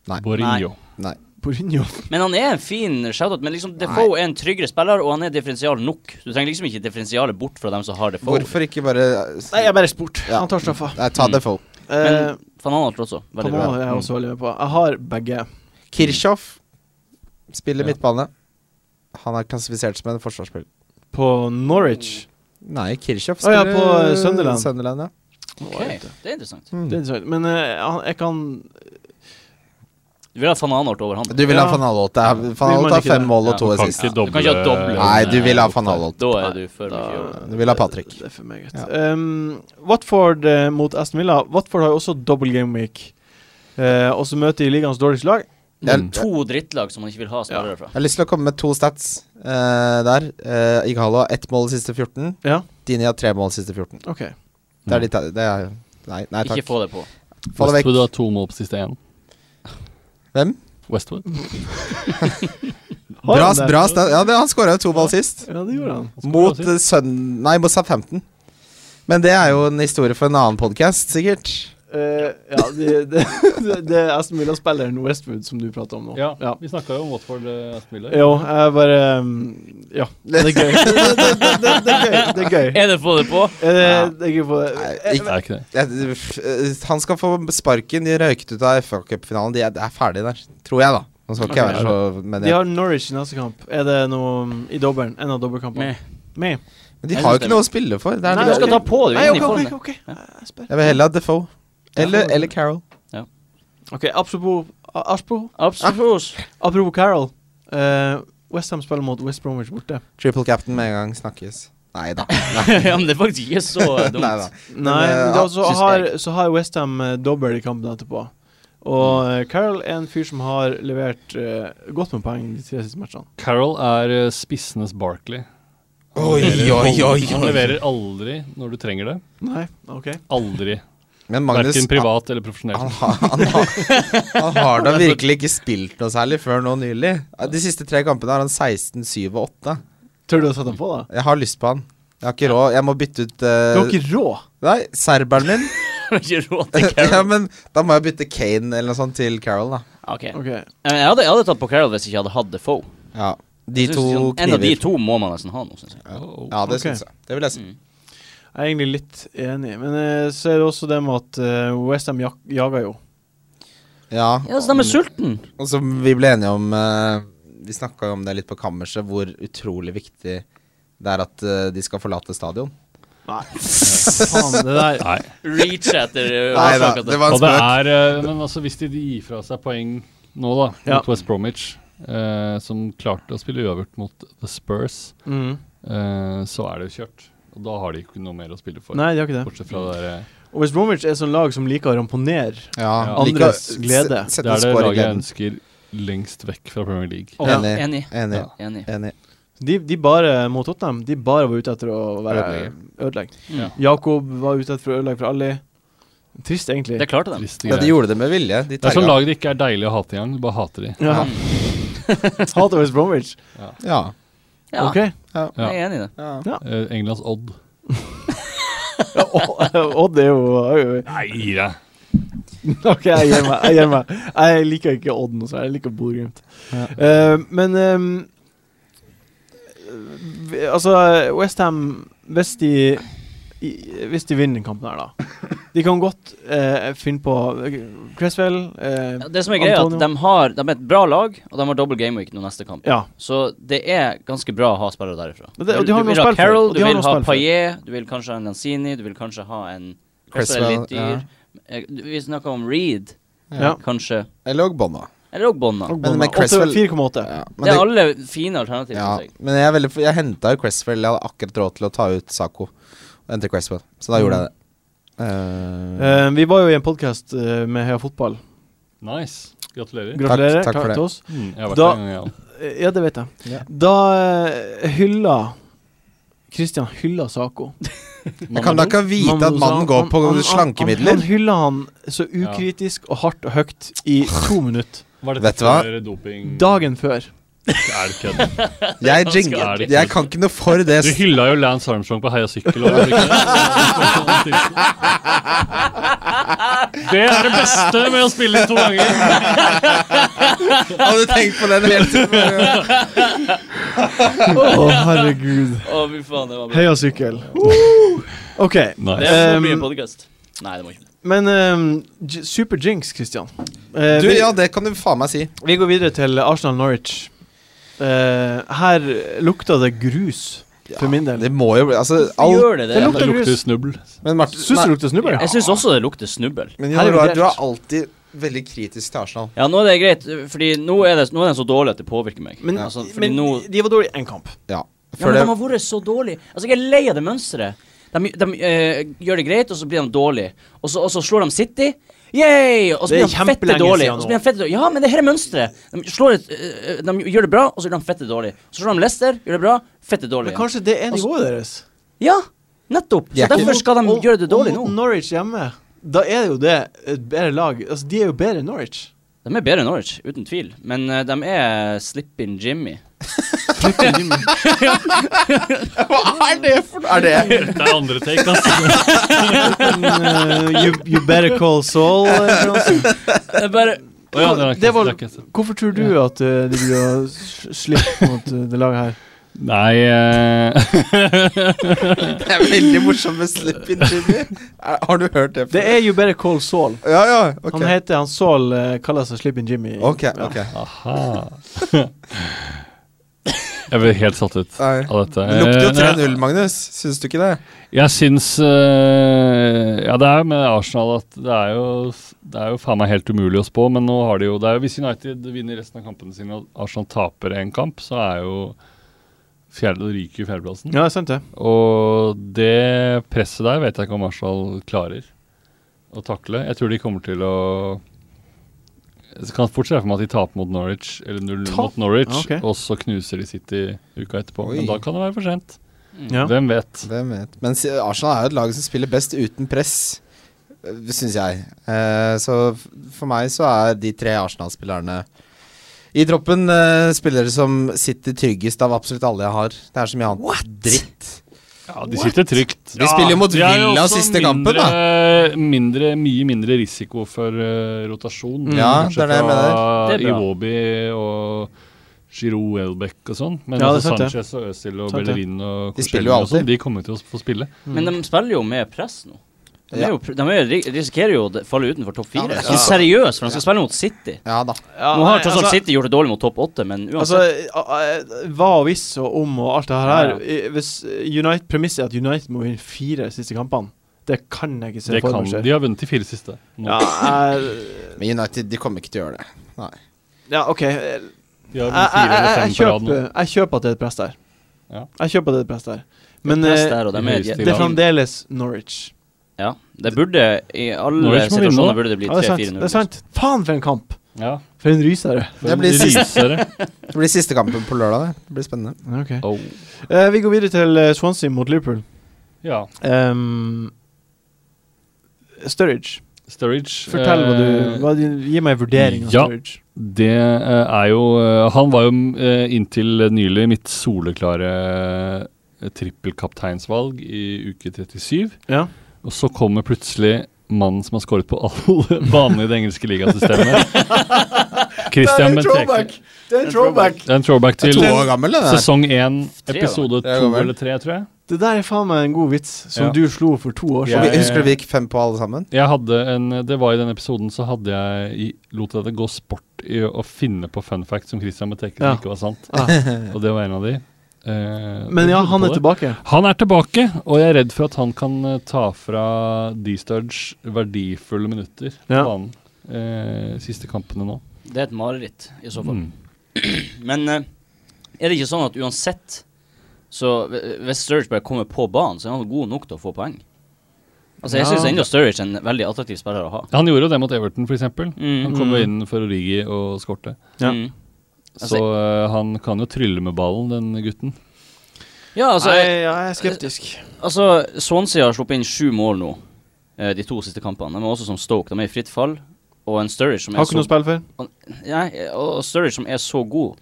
Speaker 4: Nei.
Speaker 5: Borinho.
Speaker 4: Nei.
Speaker 1: Borinho.
Speaker 2: Men han er en fin shout-out, men liksom Defoe er en tryggere spiller, og han er differensial nok. Du trenger liksom ikke differensialet bort fra dem som har Defoe.
Speaker 4: Hvorfor ikke bare
Speaker 1: Nei, jeg bare spurt.
Speaker 4: Ja.
Speaker 1: Han tar straffa.
Speaker 4: Nei, ta
Speaker 2: Mm.
Speaker 4: Defoe.
Speaker 1: Eh,
Speaker 2: Men Van Anholt også. Veldig bra.
Speaker 1: Pamela er jeg også veldig med på. Jeg har begge.
Speaker 4: Kirchhoff spiller
Speaker 5: Ja.
Speaker 4: midtbane. Han er klassifisert som en forsvarsspiller.
Speaker 1: På Norwich
Speaker 4: Nei, Kirchhoff
Speaker 1: Å ja,
Speaker 4: spiller
Speaker 1: på Sunderland.
Speaker 4: Sunderland ja.
Speaker 2: Ok, Det er interessant.
Speaker 1: Det er interessant. Men eh, han- jeg kan
Speaker 2: Du vil ha Van Anholt over han.
Speaker 4: Du vil ha
Speaker 1: Ja.
Speaker 4: van Halvold. Van
Speaker 1: Vil man
Speaker 4: Halvold har
Speaker 1: ikke
Speaker 4: fem
Speaker 1: det?
Speaker 4: mål og
Speaker 2: Ja,
Speaker 4: to
Speaker 5: Du kan
Speaker 4: assist.
Speaker 5: ikke
Speaker 2: Du kan ikke ha doble.
Speaker 5: doble
Speaker 4: Nei, du vil ha van Halvold.
Speaker 2: Da er du for mye over.
Speaker 4: Du vil ha Patrick.
Speaker 1: Det er for meget.
Speaker 4: Ja.
Speaker 1: Ehm, Watford eh, mot Aston Villa. Watford har jo også double game week. Eh, og så møter de ligaens dårligste lag.
Speaker 4: Jeg, jeg
Speaker 2: To drittlag som man ikke vil ha spillere fra.
Speaker 4: har lyst til å komme med to stats eh, der. Uh, Ighalo har ett mål de siste 14.
Speaker 1: Ja.
Speaker 4: Dini har tre mål de siste 14.
Speaker 1: OK.
Speaker 4: Det er de ta- det er, nei, nei,
Speaker 2: Ikke
Speaker 4: takk.
Speaker 2: få det på.
Speaker 4: Få det
Speaker 5: Westwood
Speaker 4: vekk.
Speaker 5: har to mål på siste én.
Speaker 4: Hvem?
Speaker 5: Westwood.
Speaker 1: Har
Speaker 4: Bra,
Speaker 1: han det?
Speaker 4: bra stat. Ja, det, han skåra jo to mål sist.
Speaker 1: Ja, det gjorde han.
Speaker 4: Mot eh, Sun... Nei, mot Southampton. Men det er jo en historie for en annen podkast, sikkert.
Speaker 1: Eh, ja, det, det, det- det er Aston Villa-spilleren Westwood som du prater om nå.
Speaker 5: Ja, vi snakka jo om Watford eh, Aston Villa.
Speaker 1: Jo, jeg bare um, Ja. Det er gøy. Det, det, det, det, det er gøy. Det er gøy.
Speaker 2: Er det få det på?
Speaker 1: Eh, det, det er gøy eh, på
Speaker 4: Nei,
Speaker 5: Det
Speaker 4: ikke,
Speaker 5: er ikke det.
Speaker 4: jeg, f- eh, han skal få sparken. De røyket ut av FA-cupfinalen. De er, er ferdige der, tror jeg, da. Nå skal ikke jeg være så Men
Speaker 1: eh, De
Speaker 4: jeg,
Speaker 1: har Norwich i neste kamp. Er det noe um, i dobbelen? En av dobbeltkampene?
Speaker 2: Med.
Speaker 1: Med.
Speaker 4: men de
Speaker 2: jeg
Speaker 4: har
Speaker 2: synes
Speaker 4: jo ikke noe å spille for. Det er
Speaker 2: Nei,
Speaker 4: det-
Speaker 2: du skal ta på det.
Speaker 1: Nei, OK,
Speaker 2: Ingen i formen.
Speaker 1: OK. ok. Jeg spør.
Speaker 4: Jeg vil heller ha Defoe. Eller, eller Carol.
Speaker 1: Ok, apropos Apropos,
Speaker 2: Absolutt.
Speaker 1: apropos Carol. Uh, Westham spiller mot West Bromwich borte.
Speaker 4: Triple captain med en gang snakkes. Nei da.
Speaker 2: ja, men det er faktisk ikke så dumt.
Speaker 4: Nei da.
Speaker 1: Nei,
Speaker 4: eh,
Speaker 1: men da,
Speaker 4: ja,
Speaker 1: så,
Speaker 2: synes
Speaker 1: har,
Speaker 2: jeg.
Speaker 1: så har Westham uh, dobbel i kampen etterpå. Og eh, Carroll er en fyr som har levert eh, godt med poeng de tre siste matchene.
Speaker 5: Carol er eh, spissenes Barkley.
Speaker 4: Oi, oi, oi,
Speaker 5: Han
Speaker 4: oi.
Speaker 5: leverer aldri når du trenger det.
Speaker 1: Nei, ok
Speaker 5: Aldri.
Speaker 4: Men Magnus
Speaker 5: Verken
Speaker 4: han,
Speaker 5: privat eller
Speaker 4: han,
Speaker 5: profesjonelt.
Speaker 4: har- han, har- han har da virkelig ikke spilt noe særlig før nå nylig. De siste tre kampene har han 16, 7 og 8.
Speaker 1: Tør du å sette ham på, da?
Speaker 4: Jeg har lyst på han. Jeg har ikke råd. Jeg må bytte ut
Speaker 1: Du
Speaker 4: eh,
Speaker 1: har ikke råd!
Speaker 4: Nei, serberen min.
Speaker 2: Har ikke råd til Carroll.
Speaker 4: ja, men da må jeg bytte Kane eller noe sånt til Carol, da.
Speaker 2: Ok. Eh,
Speaker 1: Ok
Speaker 2: Men Jeg hadde, jeg hadde tatt på Carroll hvis jeg ikke hadde hatt Defoe.
Speaker 4: Ja. De
Speaker 2: Jeg synes
Speaker 4: to
Speaker 2: sånn, En av de
Speaker 4: kniver.
Speaker 2: to må man nesten ha nå, synes jeg.
Speaker 5: Oh.
Speaker 4: Ja, det
Speaker 1: Ok.
Speaker 4: syns jeg. Det vil jeg si.
Speaker 2: Mm.
Speaker 1: Jeg er egentlig litt enig, men eh, så er det også det med at eh, Westham jak jager jo.
Speaker 4: Ja.
Speaker 2: Ja, så de er sulten
Speaker 4: Og som Altså, vi ble enige om eh, Vi snakka jo om det litt på kammerset, hvor utrolig viktig det er at eh, de skal forlate stadion.
Speaker 1: Nei, faen, det der
Speaker 5: Nei.
Speaker 2: Reach etter uh,
Speaker 4: Nei da,
Speaker 2: årsaken til-
Speaker 4: det var
Speaker 5: Og
Speaker 4: en
Speaker 5: det
Speaker 4: spøk.
Speaker 5: er eh, Men altså, hvis de gir fra seg poeng nå, da, mot
Speaker 1: Ja.
Speaker 5: West Bromwich, eh, som klarte å spille uavgjort mot The Spurs,
Speaker 1: mm.
Speaker 5: eh, så er det jo kjørt. Og da har de ikke noe mer å spille for.
Speaker 1: Nei, de har ikke det.
Speaker 5: Bortsett fra det der, eh,
Speaker 1: Og West Bromwich er sånn lag som liker å ramponere
Speaker 4: Ja,
Speaker 5: Ja.
Speaker 4: liker å
Speaker 1: Andres
Speaker 4: s-
Speaker 1: glede.
Speaker 5: det
Speaker 4: Sette
Speaker 5: er
Speaker 4: en
Speaker 5: det
Speaker 4: score i
Speaker 5: laget jeg
Speaker 4: gleden.
Speaker 5: ønsker lengst vekk fra Premier League.
Speaker 2: Å,
Speaker 4: Enig.
Speaker 2: Enig.
Speaker 4: Enig.
Speaker 5: Ja.
Speaker 2: Enig.
Speaker 4: Enig.
Speaker 1: De, de bare, mot Tottenham, de bare var ute etter å være
Speaker 4: Ødelegge.
Speaker 1: ødelegge.
Speaker 2: Mm.
Speaker 1: Jakob var ute etter å ødelegge for Ali. Trist, egentlig.
Speaker 2: Det klarte de.
Speaker 5: Triste
Speaker 4: Ja, de
Speaker 5: greier.
Speaker 4: gjorde det med vilje. De
Speaker 5: Det er sånn
Speaker 4: tagga.
Speaker 5: lag det ikke er deilig å hate engang. Du bare hater de.
Speaker 1: Ja.
Speaker 2: Mm.
Speaker 1: Hater West Bromwich.
Speaker 4: Ja.
Speaker 2: Ja,
Speaker 1: Ok.
Speaker 5: Ja.
Speaker 2: jeg er enig i det.
Speaker 5: Eh, Englands Odd.
Speaker 1: Ja, og- Odd er jo oi, oi.
Speaker 5: Nei, gi deg.
Speaker 1: Ok, jeg gir meg. Jeg, gir meg. jeg liker ikke Odd noe særlig. Jeg liker Bodø-Glimt.
Speaker 4: Ja.
Speaker 1: Eh, men ehm, vi- Altså, Westham Hvis de i- Hvis de vinner den kampen her, da De kan godt eh, finne på Cresswell eh,
Speaker 2: Ja, Det som er greia, er at
Speaker 1: Antonio.
Speaker 2: de, har, de er et bra lag, og de har double gameweek nå neste kamp.
Speaker 1: Ja.
Speaker 2: Så det er ganske bra å ha spillere derifra.
Speaker 1: Men det- og
Speaker 2: du,
Speaker 1: de har
Speaker 2: du
Speaker 1: noe
Speaker 2: vil ha
Speaker 1: spill for.
Speaker 2: Carroll,
Speaker 1: Og de
Speaker 2: du
Speaker 1: har
Speaker 2: vil
Speaker 1: noe
Speaker 2: ha
Speaker 1: spill for.
Speaker 2: Paillet, du vil kanskje ha en Lanzini, du vil kanskje ha en Cresswell er
Speaker 4: Cresswell,
Speaker 2: litt dyr. Eh, du- Vi snakka om Reed,
Speaker 1: Ja.
Speaker 2: kanskje.
Speaker 4: Eller òg Bonna.
Speaker 2: Eller òg Bonna.
Speaker 1: og
Speaker 4: men
Speaker 1: Bonna.
Speaker 4: Cresswell-
Speaker 1: 8,4,8.
Speaker 4: Ja.
Speaker 2: Det er alle fine alternativer.
Speaker 4: ja.
Speaker 2: synes jeg.
Speaker 4: Men jeg, er veldig, jeg henta jo Cresswell. Jeg hadde akkurat råd til å ta ut Saco og hente Cresswell, så da gjorde jeg det. Eh,
Speaker 1: Eh, vi var jo i en podkast med Heia Fotball.
Speaker 5: Nice. Gratulerer.
Speaker 1: Gratulerer.
Speaker 4: takk for det.
Speaker 1: til oss.
Speaker 5: Mm, jeg har vært
Speaker 1: Da-
Speaker 5: der en gang, jeg òg.
Speaker 1: Eh, Ja, det vet jeg.
Speaker 4: Ja.
Speaker 1: Da eh, hylla Christian hylla Saco.
Speaker 4: jeg kan da ikke vite at mannen går på
Speaker 1: Han,
Speaker 4: slankemidler.
Speaker 1: han hylla han så ukritisk og hardt og høyt i to minutter.
Speaker 5: Var dette
Speaker 4: Vet du hva?
Speaker 5: før Doping
Speaker 1: Dagen før.
Speaker 5: Er det kødd?
Speaker 4: Jeg,
Speaker 2: Han
Speaker 4: jing-
Speaker 5: skal-
Speaker 4: jeg kan ikke noe for det.
Speaker 5: Du hylla jo Lance Armstrong på Heia Sykkel. og- Det er det beste med å spille to ganger.
Speaker 4: Hadde du tenkt på den hele tiden?
Speaker 1: Å, herregud.
Speaker 2: Å, fy faen, det var bra.
Speaker 1: Heia sykkel. OK.
Speaker 2: Det
Speaker 5: Nice.
Speaker 2: er for
Speaker 1: Um,
Speaker 2: mye podcast. Nei, det må ikke det.
Speaker 1: Men ehm, j- super jinx, Christian. Eh,
Speaker 4: Du,
Speaker 1: vi,
Speaker 4: ja, det kan du faen meg si.
Speaker 1: vi går videre til Arsenal Norwich. Eh, her lukta det grus, for min del.
Speaker 4: Det må jo bli Altså, alt
Speaker 2: Gjør det det?
Speaker 1: Det
Speaker 5: Det lukter snubbel.
Speaker 4: Men Martin,
Speaker 1: Syns det
Speaker 4: nei,
Speaker 1: lukter snubber?
Speaker 2: Jeg syns også det lukter snubbel.
Speaker 4: men
Speaker 1: Her
Speaker 4: Jon
Speaker 1: er vi
Speaker 4: Roar,
Speaker 1: delt.
Speaker 4: du er alltid veldig kritisk til Arsenal.
Speaker 2: Ja, nå er det greit, fordi nå er, det, nå er den så dårlig at det påvirker meg.
Speaker 1: Men,
Speaker 2: altså,
Speaker 4: sånn,
Speaker 2: fordi
Speaker 1: men
Speaker 2: nå
Speaker 1: de var dårlige i én kamp.
Speaker 4: Ja.
Speaker 2: Ja,
Speaker 4: Før
Speaker 2: men
Speaker 4: det,
Speaker 2: de har vært så dårlige. Altså, jeg er lei av det mønsteret. De, de eh, gjør det greit, og så blir de dårlige. Og så, og så slår de City. Yay! Og så
Speaker 1: Det
Speaker 2: blir
Speaker 1: er
Speaker 2: de fette
Speaker 1: kjempelenge
Speaker 2: dårlige.
Speaker 1: siden
Speaker 2: Og
Speaker 1: nå.
Speaker 2: så blir de fette dårlige. Ja, men det her er mønsteret. De, slår et, eh, de gjør det bra, og så blir de fette dårlige. Så slår de Leicester, gjør det bra, fette dårlige.
Speaker 1: Men kanskje det er nivået deres?
Speaker 2: Ja, nettopp.
Speaker 4: De
Speaker 2: Så
Speaker 4: er ikke-
Speaker 2: derfor skal de
Speaker 1: Altså, Og-
Speaker 2: gjøre det dårlig
Speaker 1: og
Speaker 2: nå.
Speaker 1: mot Norwich hjemme, da er det jo det et bedre lag. Altså, de er jo bedre enn Norwich.
Speaker 2: De er bedre enn Norwich, uten tvil. Men eh, de er Slippin' Jimmy.
Speaker 4: Hva er det for noe? Er det
Speaker 5: Det er andre take, ass.
Speaker 1: you, better call Saul. eh,
Speaker 2: Det er bare
Speaker 5: Å ja, det er ikke-
Speaker 1: Det var-
Speaker 5: det er ikke-
Speaker 1: Hvorfor tror du at eh, de blir å s- slippe mot eh, det laget her?
Speaker 5: Nei eh,
Speaker 4: Det er veldig morsomt med Slip in Jimmy. Er, har du hørt det? før?
Speaker 1: Det er You Better Call Saul.
Speaker 4: Ja, ja, ok.
Speaker 1: Han heter han Saul, eh, kaller seg Slippin' Jimmy.
Speaker 4: Ok,
Speaker 1: Ja.
Speaker 4: ok.
Speaker 5: Aha. Jeg ble helt satt ut
Speaker 4: Nei.
Speaker 5: av dette.
Speaker 4: Det lukter jo
Speaker 5: Eh,
Speaker 4: 3-0, Magnus. Syns du ikke det?
Speaker 5: Jeg syns eh, Ja, det er jo med Arsenal at det er jo Det er jo faen meg helt umulig å spå, men nå har de jo det er jo, Hvis United vinner resten av kampene sine og Arsenal taper en kamp, så er jo fjerde, ryker fjerdeplassen.
Speaker 1: Ja, det er sant det.
Speaker 5: Og det presset der vet jeg ikke om Arsenal klarer å takle. Jeg tror de kommer til å Jeg kan fort se for meg at de taper mot Norwich, eller 0-0
Speaker 1: Tap?
Speaker 5: mot Norwich,
Speaker 1: Ah, Ok.
Speaker 5: og så knuser de City uka etterpå.
Speaker 4: Oi.
Speaker 5: Men da kan det være for sent.
Speaker 2: Mm.
Speaker 1: Ja.
Speaker 5: Hvem vet?
Speaker 4: Hvem vet. Men si- Arsenal er jo et lag som spiller best uten press, syns jeg. Eh, så f- for meg så er de tre Arsenal-spillerne i troppen eh, spillere som sitter tryggest av absolutt alle jeg har. Det er så mye annet dritt.
Speaker 5: Ja, de sitter trygt.
Speaker 4: De spiller jo mot
Speaker 5: Det er jo
Speaker 4: Villa
Speaker 5: også
Speaker 4: siste kampen, da.
Speaker 5: mindre- Mindre, mye mindre risiko for eh, rotasjon.
Speaker 1: Mm. Ja,
Speaker 5: bortsett
Speaker 4: det er det jeg
Speaker 5: fra
Speaker 2: mener. Det er bra.
Speaker 5: Iwobi og Giroud Welbeck og sånn. Men
Speaker 1: Ja, det er
Speaker 5: altså
Speaker 1: sant, det.
Speaker 5: Sanchez og Øzil og
Speaker 1: Sant, det.
Speaker 5: Bellerin og
Speaker 4: De spiller jo
Speaker 5: og sånn,
Speaker 4: alltid.
Speaker 5: de kommer jo til å få spille.
Speaker 2: Men de spiller jo med press nå. De,
Speaker 4: Ja.
Speaker 2: er jo, pr- de er, ri- risikerer jo å de- falle utenfor topp
Speaker 4: Ja,
Speaker 2: fire.
Speaker 4: det er
Speaker 2: Ja,
Speaker 1: altså-
Speaker 2: Seriøst, for de skal spille mot City.
Speaker 4: Ja da.
Speaker 1: Ja,
Speaker 2: Nå har
Speaker 1: nei,
Speaker 2: tross alt
Speaker 1: altså-
Speaker 2: City gjort det dårlig mot topp åtte, men
Speaker 1: Altså,
Speaker 2: uansett
Speaker 1: eh, eh, hva og hvis og om og alt det her
Speaker 2: Ja,
Speaker 1: eh, Hvis eh, Unite, Premisset er at United må vinne fire siste kampene. Det kan jeg ikke se
Speaker 5: Det
Speaker 1: for
Speaker 5: kan,
Speaker 1: meg skjer.
Speaker 5: de har vunnet de fire siste. Nå.
Speaker 1: Ja, jeg-
Speaker 4: Men United de kommer ikke til å gjøre det. Nei.
Speaker 1: ja, OK. eh,
Speaker 5: De
Speaker 1: Jeg, jeg, jeg,
Speaker 5: har vunnet fire eller
Speaker 1: jeg,
Speaker 5: fem på rad nå.
Speaker 1: kjøper, jeg kjøper at det er et press der.
Speaker 5: Ja.
Speaker 1: Jeg kjøper at det er et press der. Men
Speaker 2: press
Speaker 1: eh,
Speaker 2: der, og de er,
Speaker 5: høyeste
Speaker 2: de,
Speaker 1: det er fremdeles Norwich.
Speaker 2: ja, det burde i
Speaker 5: Norwich må
Speaker 2: alle
Speaker 5: vinne nå.
Speaker 2: situasjoner burde det bli
Speaker 1: Ja, det er sant.
Speaker 2: 3-4-0.
Speaker 1: Det er sant. Faen, for en kamp!
Speaker 5: Ja.
Speaker 1: For en rysere.
Speaker 5: Det
Speaker 4: blir
Speaker 5: blir
Speaker 4: siste.
Speaker 5: lysere.
Speaker 4: Det blir siste kampen på lørdag. Det, det blir spennende.
Speaker 1: Ok.
Speaker 5: Oh.
Speaker 1: Eh, vi går videre til eh, Swansea mot Liverpool.
Speaker 5: Ja.
Speaker 1: Ehm, Sturridge,
Speaker 5: Sturridge
Speaker 1: fortell hva du
Speaker 5: eh,
Speaker 1: hva, din- Gi meg en vurdering av
Speaker 5: ja.
Speaker 1: Sturridge.
Speaker 5: Det eh, er jo eh, Han var jo eh, inntil nylig mitt soleklare eh, trippelkapteinsvalg i uke 37.
Speaker 1: Ja.
Speaker 5: Og så kommer plutselig mannen som har skåret på alle banene i det engelske ligasystemet. Christian Benteke.
Speaker 1: Det er en throwback!
Speaker 5: Det er en throwback
Speaker 4: Det er
Speaker 5: til
Speaker 4: to år gammel, det der.
Speaker 5: sesong én,
Speaker 2: Tre, da.
Speaker 5: episode
Speaker 4: Det er
Speaker 5: to
Speaker 4: gammel.
Speaker 5: eller tre, tror jeg.
Speaker 1: Det der er faen meg en god vits som
Speaker 5: Ja.
Speaker 1: du slo for to år
Speaker 5: Ja,
Speaker 1: siden.
Speaker 5: ja,
Speaker 4: Og
Speaker 5: ja.
Speaker 4: vi, husker du vi gikk fem på alle sammen?
Speaker 5: Jeg hadde en, det var i den episoden så hadde jeg i, lot jeg det gå sport i å finne på fun facts om Christian Benteke som
Speaker 1: Ja.
Speaker 5: ikke var sant.
Speaker 1: Ah.
Speaker 5: Og det var en av de. Eh,
Speaker 1: Men ja,
Speaker 5: jeg trodde
Speaker 1: han
Speaker 5: på
Speaker 1: er
Speaker 5: det.
Speaker 1: tilbake.
Speaker 5: Han er tilbake, og jeg er redd for at han kan eh, ta fra D-Studge verdifulle minutter på
Speaker 1: Ja.
Speaker 5: banen. Eh, siste kampene nå.
Speaker 2: Det er et mareritt, i så fall.
Speaker 5: Mm.
Speaker 2: Men eh, er det ikke sånn at uansett så eh, Hvis Sturridge bare kommer på banen, så er han god nok til å få poeng? Altså,
Speaker 1: Ja.
Speaker 2: jeg syns enda Sturridge er en veldig attraktiv spiller å ha.
Speaker 5: Han gjorde jo det mot Everton, f.eks.
Speaker 2: Mm.
Speaker 5: Han kom jo
Speaker 1: Mm.
Speaker 5: inn for Origi og skårte.
Speaker 1: Ja.
Speaker 2: Mm.
Speaker 5: Så eh, han kan jo trylle med ballen, den gutten.
Speaker 2: Ja, altså,
Speaker 1: Nei,
Speaker 2: jeg,
Speaker 1: ja, jeg er skeptisk.
Speaker 2: altså Swansea har sluppet inn sju mål nå, eh, de to siste kampene. De er også som Stoke. De er i fritt fall. Og en Sturridge som er
Speaker 1: Har ikke
Speaker 2: så
Speaker 1: noe spill for.
Speaker 2: Nei, og og Sturridge som er så god.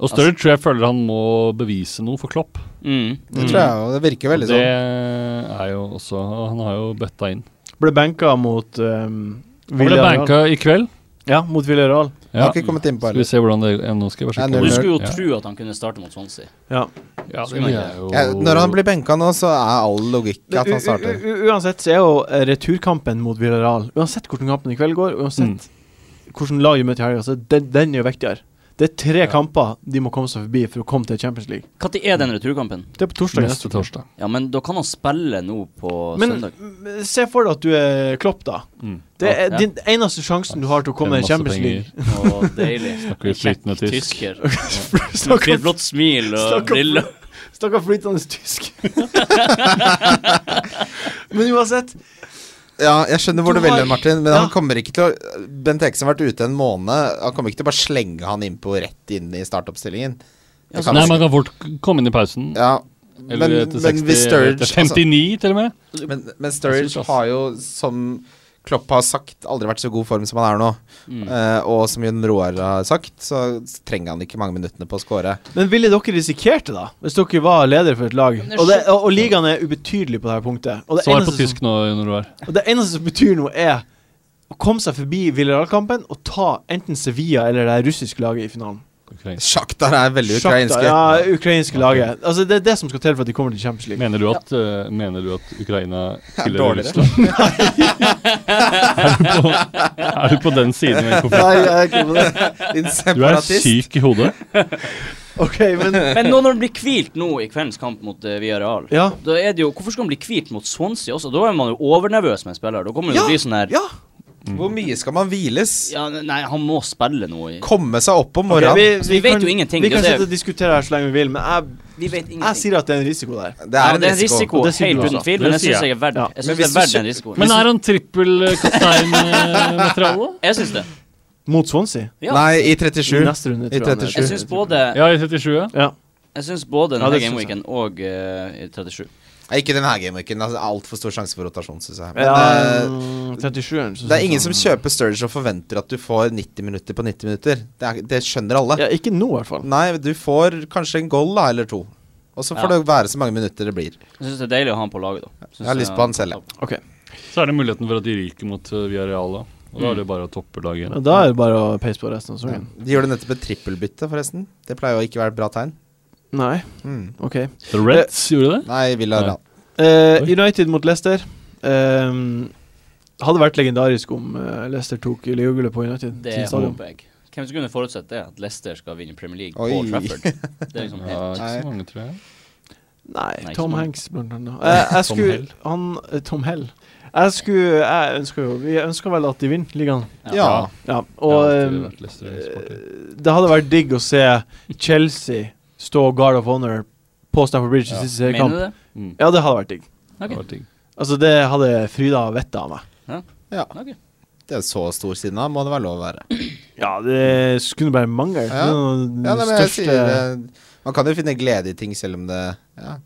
Speaker 5: Og Sturridge tror jeg føler han må bevise noe for Klopp.
Speaker 2: Mm.
Speaker 4: Det tror jeg jo. Det virker
Speaker 5: Og det
Speaker 4: veldig sånn.
Speaker 5: er jo også Han har jo bøtta inn.
Speaker 1: Ble benka mot um,
Speaker 5: Han ble
Speaker 1: Villarreal.
Speaker 5: banka i kveld.
Speaker 1: Ja, mot Villarreal.
Speaker 4: Jeg
Speaker 5: Ja.
Speaker 4: har ikke kommet inn på
Speaker 5: Skal vi
Speaker 4: heller.
Speaker 5: se hvordan det ja, Nå skal jeg bare
Speaker 4: Nei,
Speaker 5: sjekke.
Speaker 2: Du
Speaker 4: null-null.
Speaker 2: skulle jo
Speaker 5: Ja.
Speaker 2: tro at han kunne starte mot Swansea.
Speaker 1: Ja.
Speaker 5: Ja, det
Speaker 2: Skulle
Speaker 5: er jo
Speaker 4: Ja, når han blir benka nå, så er all logikk
Speaker 1: U-
Speaker 4: at han
Speaker 1: u-
Speaker 4: starter.
Speaker 1: u- Uansett så er jo eh, returkampen mot Villarreal Uansett hvordan kampen i kveld går, uansett hvordan lag de møter i helga, så den, den er jo viktigere. Det er tre kamper de må komme seg forbi for å komme til Champions League.
Speaker 2: Når er den returkampen?
Speaker 1: Det er på torsdag. neste
Speaker 5: neste
Speaker 1: uke.
Speaker 5: torsdag.
Speaker 2: Ja, men da kan han spille nå på
Speaker 1: Men
Speaker 2: søndag.
Speaker 1: m, se for deg at du er Klopp, da.
Speaker 5: Mm.
Speaker 1: Det er
Speaker 2: Ja.
Speaker 1: din eneste sjansen du har til å komme deg i
Speaker 5: Tjener masse
Speaker 1: Champions
Speaker 5: penger.
Speaker 1: League.
Speaker 2: Å, deilig.
Speaker 5: Snakker flytende
Speaker 2: Kjekk
Speaker 5: tysk.
Speaker 2: tysker.
Speaker 1: Snakk
Speaker 2: Med
Speaker 1: om-
Speaker 2: blått smil og
Speaker 1: Snakk om-
Speaker 2: briller.
Speaker 1: Stakkar flytende tysk. Men uansett
Speaker 4: Ja, jeg skjønner hvor
Speaker 1: Du
Speaker 4: du vil,
Speaker 1: har-
Speaker 4: Martin, men
Speaker 1: Ja.
Speaker 4: han kommer ikke til å Bent Eksen har vært ute en måned. Han kommer ikke til å bare slenge han innpå rett inn i startoppstillingen. Det kan
Speaker 5: Nei,
Speaker 4: han
Speaker 5: man
Speaker 4: ikke.
Speaker 5: kan fort k- komme inn i pausen.
Speaker 4: Ja. Men,
Speaker 5: Eller etter 60
Speaker 4: men hvis Sturridge
Speaker 5: etter 59, til og med.
Speaker 4: altså, men, men
Speaker 5: Jeg synes
Speaker 4: Sturridge
Speaker 5: også.
Speaker 4: har jo, som Klopp har sagt, aldri vært i så god form som han er nå.
Speaker 5: Mm.
Speaker 4: Eh, og som Jon Roar har sagt, så trenger han ikke mange minuttene på å score.
Speaker 1: Men ville dere risikert det, da? Hvis dere var leder for et lag? Og, det, og, og ligaen er ubetydelig på dette punktet.
Speaker 4: Altså,
Speaker 1: Og det,
Speaker 5: Svar på
Speaker 1: eneste
Speaker 5: tysk nå, Jon Roar.
Speaker 1: Som, og det eneste som betyr noe, er å komme seg forbi Villarreal-kampen og ta enten Sevilla eller det russiske laget i finalen.
Speaker 5: Ukrainsk.
Speaker 4: Sjaktar er veldig
Speaker 1: Shakhtar-
Speaker 4: ukrainske.
Speaker 1: Ja, ukrainske laget. Altså Det er det som skal til for at de kommer til Champions League.
Speaker 5: Mener du at, eh, mener du at Ukraina spiller
Speaker 4: dårligere.
Speaker 5: Russland? er, du på, er du på den siden? av konflikten?
Speaker 4: Nei, jeg er ikke på det. Din
Speaker 5: Du er
Speaker 4: separatist.
Speaker 5: syk i hodet.
Speaker 1: Ok, men
Speaker 2: Men nå når han blir hvilt nå i kveldens kamp mot uh, Villarreal
Speaker 1: Ja.
Speaker 2: Da er det jo, Hvorfor skal han bli hvilt mot Swansea også? Da er man jo overnervøs med en spiller. Da kommer det
Speaker 4: Ja,
Speaker 2: til å bli sånn her ja.
Speaker 4: Ja. Hvor mye skal man hviles?
Speaker 2: Nei, han må spille nå. i-
Speaker 4: Komme seg opp om
Speaker 1: Ok,
Speaker 4: morgenen.
Speaker 2: Så vi vet jo ingenting,
Speaker 1: Vi
Speaker 2: det
Speaker 1: kan
Speaker 2: er-
Speaker 1: sitte og diskutere her så lenge vi vil, men jeg,
Speaker 2: Vi vet ingenting.
Speaker 1: jeg sier at det er en risiko der.
Speaker 4: Det
Speaker 2: ja,
Speaker 4: er en risiko.
Speaker 1: Og det sier du
Speaker 2: helt
Speaker 1: også.
Speaker 2: uten tvil,
Speaker 5: Det
Speaker 2: men jeg
Speaker 5: sier
Speaker 2: syns jeg er verdt
Speaker 1: Ja.
Speaker 2: Jeg
Speaker 4: Men
Speaker 2: synes det
Speaker 4: hvis
Speaker 2: er
Speaker 4: du
Speaker 2: verdt
Speaker 4: kjø-
Speaker 2: den risikoen.
Speaker 5: Men er han eh, trippelkapteinmateriale?
Speaker 2: jeg syns det.
Speaker 1: Mot Swansea?
Speaker 2: Ja.
Speaker 4: Nei, i
Speaker 1: I
Speaker 4: 37.
Speaker 1: neste runde,
Speaker 4: I
Speaker 1: tror jeg.
Speaker 4: 37.
Speaker 2: Jeg syns både
Speaker 5: Ja, i 37, ja.
Speaker 1: Ja.
Speaker 2: Jeg synes både
Speaker 1: Ja,
Speaker 2: denne
Speaker 1: det synes
Speaker 2: gameweeken og eh, i 37.
Speaker 4: Nei, Ikke denne gameweeken. Altså, Altfor stor sjanse for rotasjon, syns jeg. Men,
Speaker 1: ja mm. 37-eren.
Speaker 4: eh,
Speaker 1: så
Speaker 4: det
Speaker 1: synes sånn.
Speaker 4: er ingen
Speaker 1: jeg.
Speaker 4: som kjøper Sturge og forventer at du får 90 minutter på 90 minutter. Det, er, det skjønner alle.
Speaker 1: Ja, ikke nå, i hvert fall.
Speaker 4: Nei, du får kanskje en goal da, eller to. Og så får
Speaker 2: Ja.
Speaker 4: det være så mange minutter det blir.
Speaker 2: Jeg syns det er deilig å ha han på laget, da. Synes eh,
Speaker 4: Jeg har lyst på han selv, jeg.
Speaker 1: Ok,
Speaker 5: Så er det muligheten for at de ryker mot eh, Villarreal, da. Og da er det bare å toppe laget igjen.
Speaker 1: men Da er det bare å peise på resten av sesongen.
Speaker 4: De gjorde nettopp et trippelbytte, forresten. Det pleier jo ikke å være et bra tegn.
Speaker 1: Nei,
Speaker 4: Mm.
Speaker 1: ok.
Speaker 5: The Reds gjorde det.
Speaker 4: Nei, Villarreal.
Speaker 1: Eh,
Speaker 5: Oi.
Speaker 1: United mot Leicester. Ehm, hadde vært legendarisk om eh, Leicester tok Liverpool på United.
Speaker 2: Det
Speaker 1: sin stadion.
Speaker 2: håper jeg. Hvem som kunne forutsett det? At Leicester skal vinne Premier League på
Speaker 4: Oi.
Speaker 2: Trafford. Det er liksom
Speaker 5: Ja,
Speaker 2: helt
Speaker 5: ikke så mange, tror jeg.
Speaker 1: Nei,
Speaker 2: Nei, ikke
Speaker 1: Tom
Speaker 2: så mange.
Speaker 1: Hanks, blant annet. Eh, jeg
Speaker 5: Tom
Speaker 1: skulle,
Speaker 5: Hell.
Speaker 1: han, eh, Tom Hell. Jeg skulle Jeg ønsker jo Vi ønsker vel at de vinner ligaen.
Speaker 4: Ja.
Speaker 5: Ja.
Speaker 1: Ja,
Speaker 5: Jeg
Speaker 1: og
Speaker 5: har alltid
Speaker 1: ehm,
Speaker 5: vært Leicester-supporter.
Speaker 1: det hadde vært digg å se Chelsea stå guard of honor på Stamford Bridge i
Speaker 5: Ja.
Speaker 1: siste seriekamp.
Speaker 2: Mener du det? Mm.
Speaker 1: Ja, det hadde vært digg.
Speaker 5: Det
Speaker 2: Ok.
Speaker 5: var ting.
Speaker 1: Altså, det hadde fryda vettet av meg.
Speaker 4: Ja,
Speaker 2: Ok.
Speaker 4: det er så stor siden av, må det være lov å være.
Speaker 1: Ja, det skulle bare mangle.
Speaker 4: Ja.
Speaker 1: Det er noe
Speaker 4: Ja,
Speaker 1: av
Speaker 4: nei,
Speaker 1: det
Speaker 4: men jeg
Speaker 1: største-
Speaker 4: sier eh, Man kan jo finne glede i ting selv om det Ja.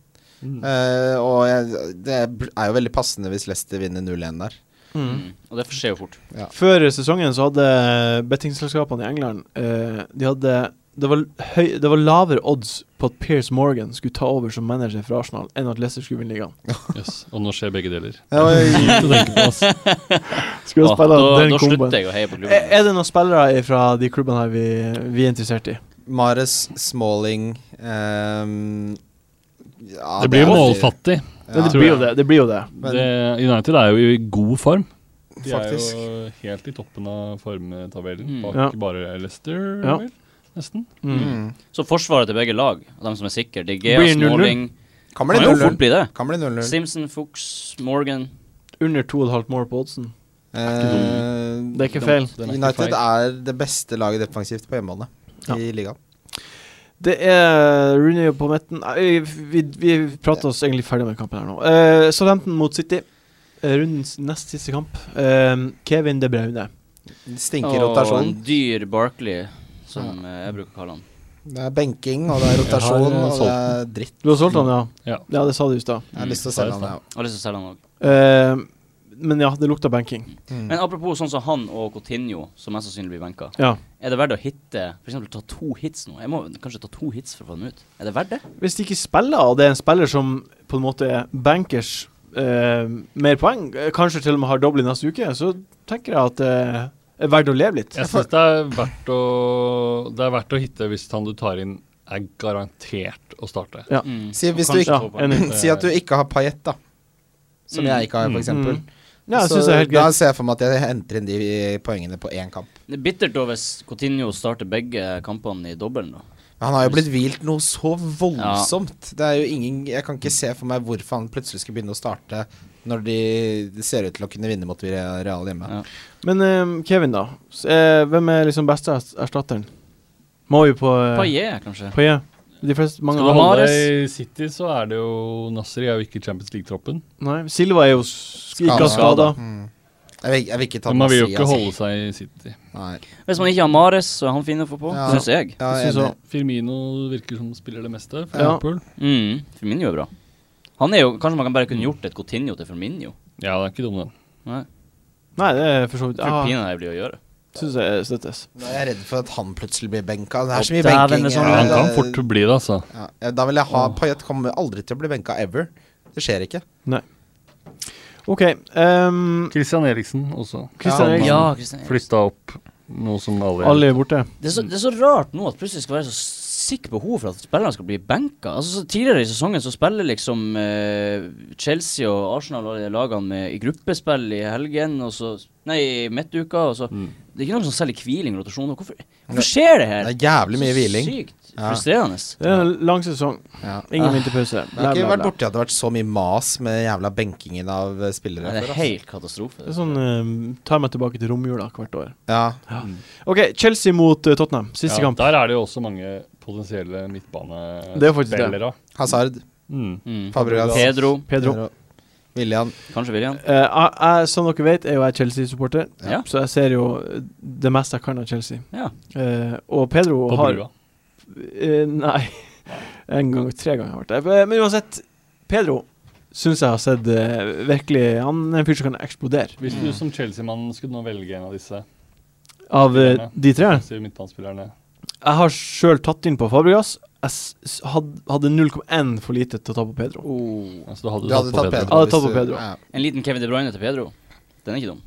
Speaker 4: Eh, og jeg, det er jo veldig passende hvis Leicester vinner 0-1 der.
Speaker 1: Mm.
Speaker 2: Mm. Og det skjer jo fort.
Speaker 1: Før sesongen så hadde bettingselskapene i England eh, De hadde det var, høy, det var lavere odds på at Piers Morgan skulle ta over som manager for Arsenal, enn at Leicester skulle vinne ligaen.
Speaker 5: Yes. Og nå skjer begge deler.
Speaker 4: Oi.
Speaker 5: Lite å tenke på, altså.
Speaker 1: Skulle
Speaker 2: Ah, da, da slutter jeg å heie på klubben.
Speaker 1: Er, er det noen spillere fra de klubbene her vi, vi er interessert i?
Speaker 4: Mares, Smalling ehm, ja,
Speaker 5: Det blir
Speaker 4: er
Speaker 5: jo
Speaker 4: veldig-
Speaker 5: målfattig.
Speaker 1: Ja, det,
Speaker 5: tror
Speaker 1: blir jo
Speaker 5: jeg.
Speaker 1: det, det blir jo det.
Speaker 4: Men-
Speaker 5: Det, United er jo i god form. De
Speaker 4: Faktisk.
Speaker 5: er jo helt i toppen av formtabellen,
Speaker 2: Mm.
Speaker 5: bak
Speaker 1: Ja.
Speaker 5: bare Leicester,
Speaker 1: Ja.
Speaker 5: vel? Nesten.
Speaker 1: Mm.
Speaker 4: Mm.
Speaker 2: Så forsvaret til begge lag, og dem som er sikre, De Gea,
Speaker 1: Blir 0-0.
Speaker 2: Smalling
Speaker 4: Kan bli
Speaker 2: Kan jo fort
Speaker 4: 0-0.
Speaker 2: bli det.
Speaker 4: Kan bli 0-0.
Speaker 2: Simpson, Fuchs, Morgan
Speaker 1: Under 2,5 mål på oddsen.
Speaker 4: Eh,
Speaker 1: Det er ikke feil.
Speaker 5: Den er ikke
Speaker 4: United
Speaker 5: feil.
Speaker 4: er det beste laget defensivt på hjemmebane
Speaker 1: Ja.
Speaker 4: i ligaen.
Speaker 1: Det er Rooney på midten Nei, vi, vi prater oss egentlig ferdig med kampen her nå. Uh, Southampton mot City. Eh, rundens nest siste kamp. Eh, Kevin De Braune.
Speaker 4: Stinker
Speaker 2: og en
Speaker 4: rotasjon.
Speaker 2: dyr Barkley, som eh, jeg bruker å kalle han.
Speaker 4: Det er benking, og det er
Speaker 5: Jeg har,
Speaker 4: rotasjon,
Speaker 5: eh,
Speaker 4: og det er
Speaker 5: solgt
Speaker 4: dritt.
Speaker 1: Du har solgt han, Mm. ja?
Speaker 5: Ja.
Speaker 1: Ja, det sa du i stad.
Speaker 4: Jeg har lyst til å
Speaker 5: Mm,
Speaker 4: selge han, jeg
Speaker 2: Jeg har lyst til å selge han også.
Speaker 1: Eh, men ja, det lukta banking.
Speaker 4: òg.
Speaker 2: Men apropos sånn som han og Coutinho, som mest sannsynlig blir benka.
Speaker 1: Ja.
Speaker 2: Er det verdt å hitte F.eks. ta to hits nå? Jeg må kanskje ta to hits for å få dem ut. Er det verdt det?
Speaker 1: Hvis de ikke spiller, og det er en spiller som på en måte er bankers eh, mer poeng, eh, kanskje til og med har doble neste uke, så tenker jeg at det er verdt å leve litt.
Speaker 5: Jeg syns det er verdt å Det er verdt å hitte hvis han du tar inn, er garantert å starte.
Speaker 1: Ja.
Speaker 2: Mm.
Speaker 4: Si hvis
Speaker 2: Og
Speaker 4: du
Speaker 2: kanskje
Speaker 1: Ja,
Speaker 2: få på-
Speaker 1: enig.
Speaker 4: Si at du ikke har Payet, da. Som
Speaker 2: Mm.
Speaker 4: jeg ikke har,
Speaker 5: Mm.
Speaker 4: for eksempel.
Speaker 1: Ja, jeg
Speaker 4: Så
Speaker 1: syns det er helt
Speaker 4: Altså, Da
Speaker 1: greit.
Speaker 4: ser jeg for meg at jeg henter inn de poengene på én kamp.
Speaker 2: Det er bittert da hvis Coutinho starter begge kampene i dobbelen, da.
Speaker 4: Men han har jo blitt hvilt noe så voldsomt. Det er jo ingen Jeg kan ikke se for meg hvorfor han plutselig skal begynne å starte når de de ser ut til å kunne vinne mot Real hjemme.
Speaker 2: Ja.
Speaker 1: Men eh, Kevin, da. S- eh, hvem er liksom beste ers- erstatteren? Må vi på eh,
Speaker 2: Paillet, kanskje.
Speaker 1: Paillet? De fleste mange
Speaker 5: Skal du
Speaker 1: har-
Speaker 5: holde
Speaker 2: Mahrez.
Speaker 5: deg i City, så er det jo Nasri er jo ikke i Champions League-troppen.
Speaker 1: Nei, Silva er jo s- ikke skada.
Speaker 2: Skada.
Speaker 4: Mm. Jeg, vil, jeg vil ikke ta
Speaker 5: Men man vil jo
Speaker 4: Masi,
Speaker 5: ikke
Speaker 4: altså.
Speaker 5: holde seg i City.
Speaker 4: Nei.
Speaker 2: Hvis man ikke har Mares, så er han fin å få på,
Speaker 4: Ja.
Speaker 2: synes
Speaker 1: Jeg
Speaker 2: jeg.
Speaker 4: Ja, jeg er
Speaker 1: synes
Speaker 4: enig.
Speaker 1: også-
Speaker 5: Firmino virker som spiller det meste. For
Speaker 1: Ja.
Speaker 5: Liverpool.
Speaker 2: Mm. Firmino er bra. Han er jo, Kanskje man kan bare kunne gjort et Coutinho til Firmino?
Speaker 5: Ja, det er ikke dum, den.
Speaker 2: Nei.
Speaker 1: Nei, det er for så vidt
Speaker 2: Jeg tror
Speaker 1: Jeg
Speaker 2: pinadø jeg blir å gjøre.
Speaker 1: syns jeg støttes.
Speaker 4: Nå er jeg redd for at han plutselig blir benka. Det
Speaker 2: Og
Speaker 4: er så mye
Speaker 2: dæven,
Speaker 4: benking.
Speaker 2: det er
Speaker 5: Ja,
Speaker 2: sånn-
Speaker 4: eh,
Speaker 5: han kan fort bli det, altså.
Speaker 4: ja. Da vil jeg ha Payet kommer aldri til å bli benka ever. Det skjer ikke.
Speaker 1: OK. ehm,
Speaker 5: Christian Eriksen også.
Speaker 1: Christian
Speaker 4: Ja,
Speaker 1: Eriksen.
Speaker 2: Ja, Kristian.
Speaker 5: Flytta opp, noe som alle
Speaker 1: Alle er borte.
Speaker 2: Det er, så, det er så rart nå at plutselig skal være så sikkert behov for at spillerne skal bli benka. Altså, så tidligere i sesongen så spiller liksom eh, Chelsea og Arsenal og de lagene med, i gruppespill i helgen, og så Nei, i midtuka, og så
Speaker 4: Mm.
Speaker 2: Det er ikke sånn noen som selger hviling og rotasjon. Hvorfor, hvorfor skjer det her?
Speaker 4: Det er jævlig mye
Speaker 2: Så
Speaker 4: hviling.
Speaker 2: Sykt
Speaker 4: Ja.
Speaker 2: frustrerende.
Speaker 1: Det er en lang sesong.
Speaker 4: Ja.
Speaker 1: Ingen
Speaker 2: Ah.
Speaker 1: vinterpause.
Speaker 4: Jeg
Speaker 1: Bla,
Speaker 4: har ikke
Speaker 1: bla,
Speaker 4: vært
Speaker 1: bla.
Speaker 4: borti at det har vært så mye mas med jævla benkingen av eh, spillere.
Speaker 2: Det
Speaker 4: før,
Speaker 2: er
Speaker 4: altså.
Speaker 2: helt katastrofe.
Speaker 1: Det er sånn ehm, Tar meg tilbake til romjula hvert år.
Speaker 4: Ja.
Speaker 1: OK, Chelsea mot eh, Tottenham. Siste kamp.
Speaker 5: Der er det jo også mange potensielle midtbanespillere.
Speaker 1: Det er faktisk det.
Speaker 4: Hazard,
Speaker 5: Mm.
Speaker 2: Mm.
Speaker 4: Fabregas.
Speaker 2: Pedro,
Speaker 1: Pedro.
Speaker 4: William.
Speaker 2: kanskje William.
Speaker 1: Eh, jeg, jeg, som dere vet, er jo jeg Chelsea-supporter,
Speaker 2: Ja.
Speaker 1: så jeg ser jo eh, det meste jeg kan av Chelsea.
Speaker 2: Ja.
Speaker 1: Eh, og Pedro
Speaker 5: På
Speaker 1: har
Speaker 5: brua.
Speaker 1: Eh, nei. En gang, tre ganger har jeg vært der. Eh, Men uansett, Pedro syns jeg har sett eh, virkelig Han er en fyr som kan eksplodere.
Speaker 5: Hvis du som Chelsea-mann skulle nå velge en av disse
Speaker 1: Av eh, de tre.
Speaker 5: disse midtbanespillerne
Speaker 1: Jeg har sjøl tatt inn på Fabregas. Jeg s- s- had- hadde 0,1 for lite til å ta på Pedro.
Speaker 5: altså, Du hadde,
Speaker 4: Du hadde tatt Pedro.
Speaker 1: Hadde tatt
Speaker 4: hvis
Speaker 1: på
Speaker 4: du-
Speaker 1: Pedro.
Speaker 4: Ja.
Speaker 2: En liten Kevin De Bruyne til Pedro. Den er ikke dum.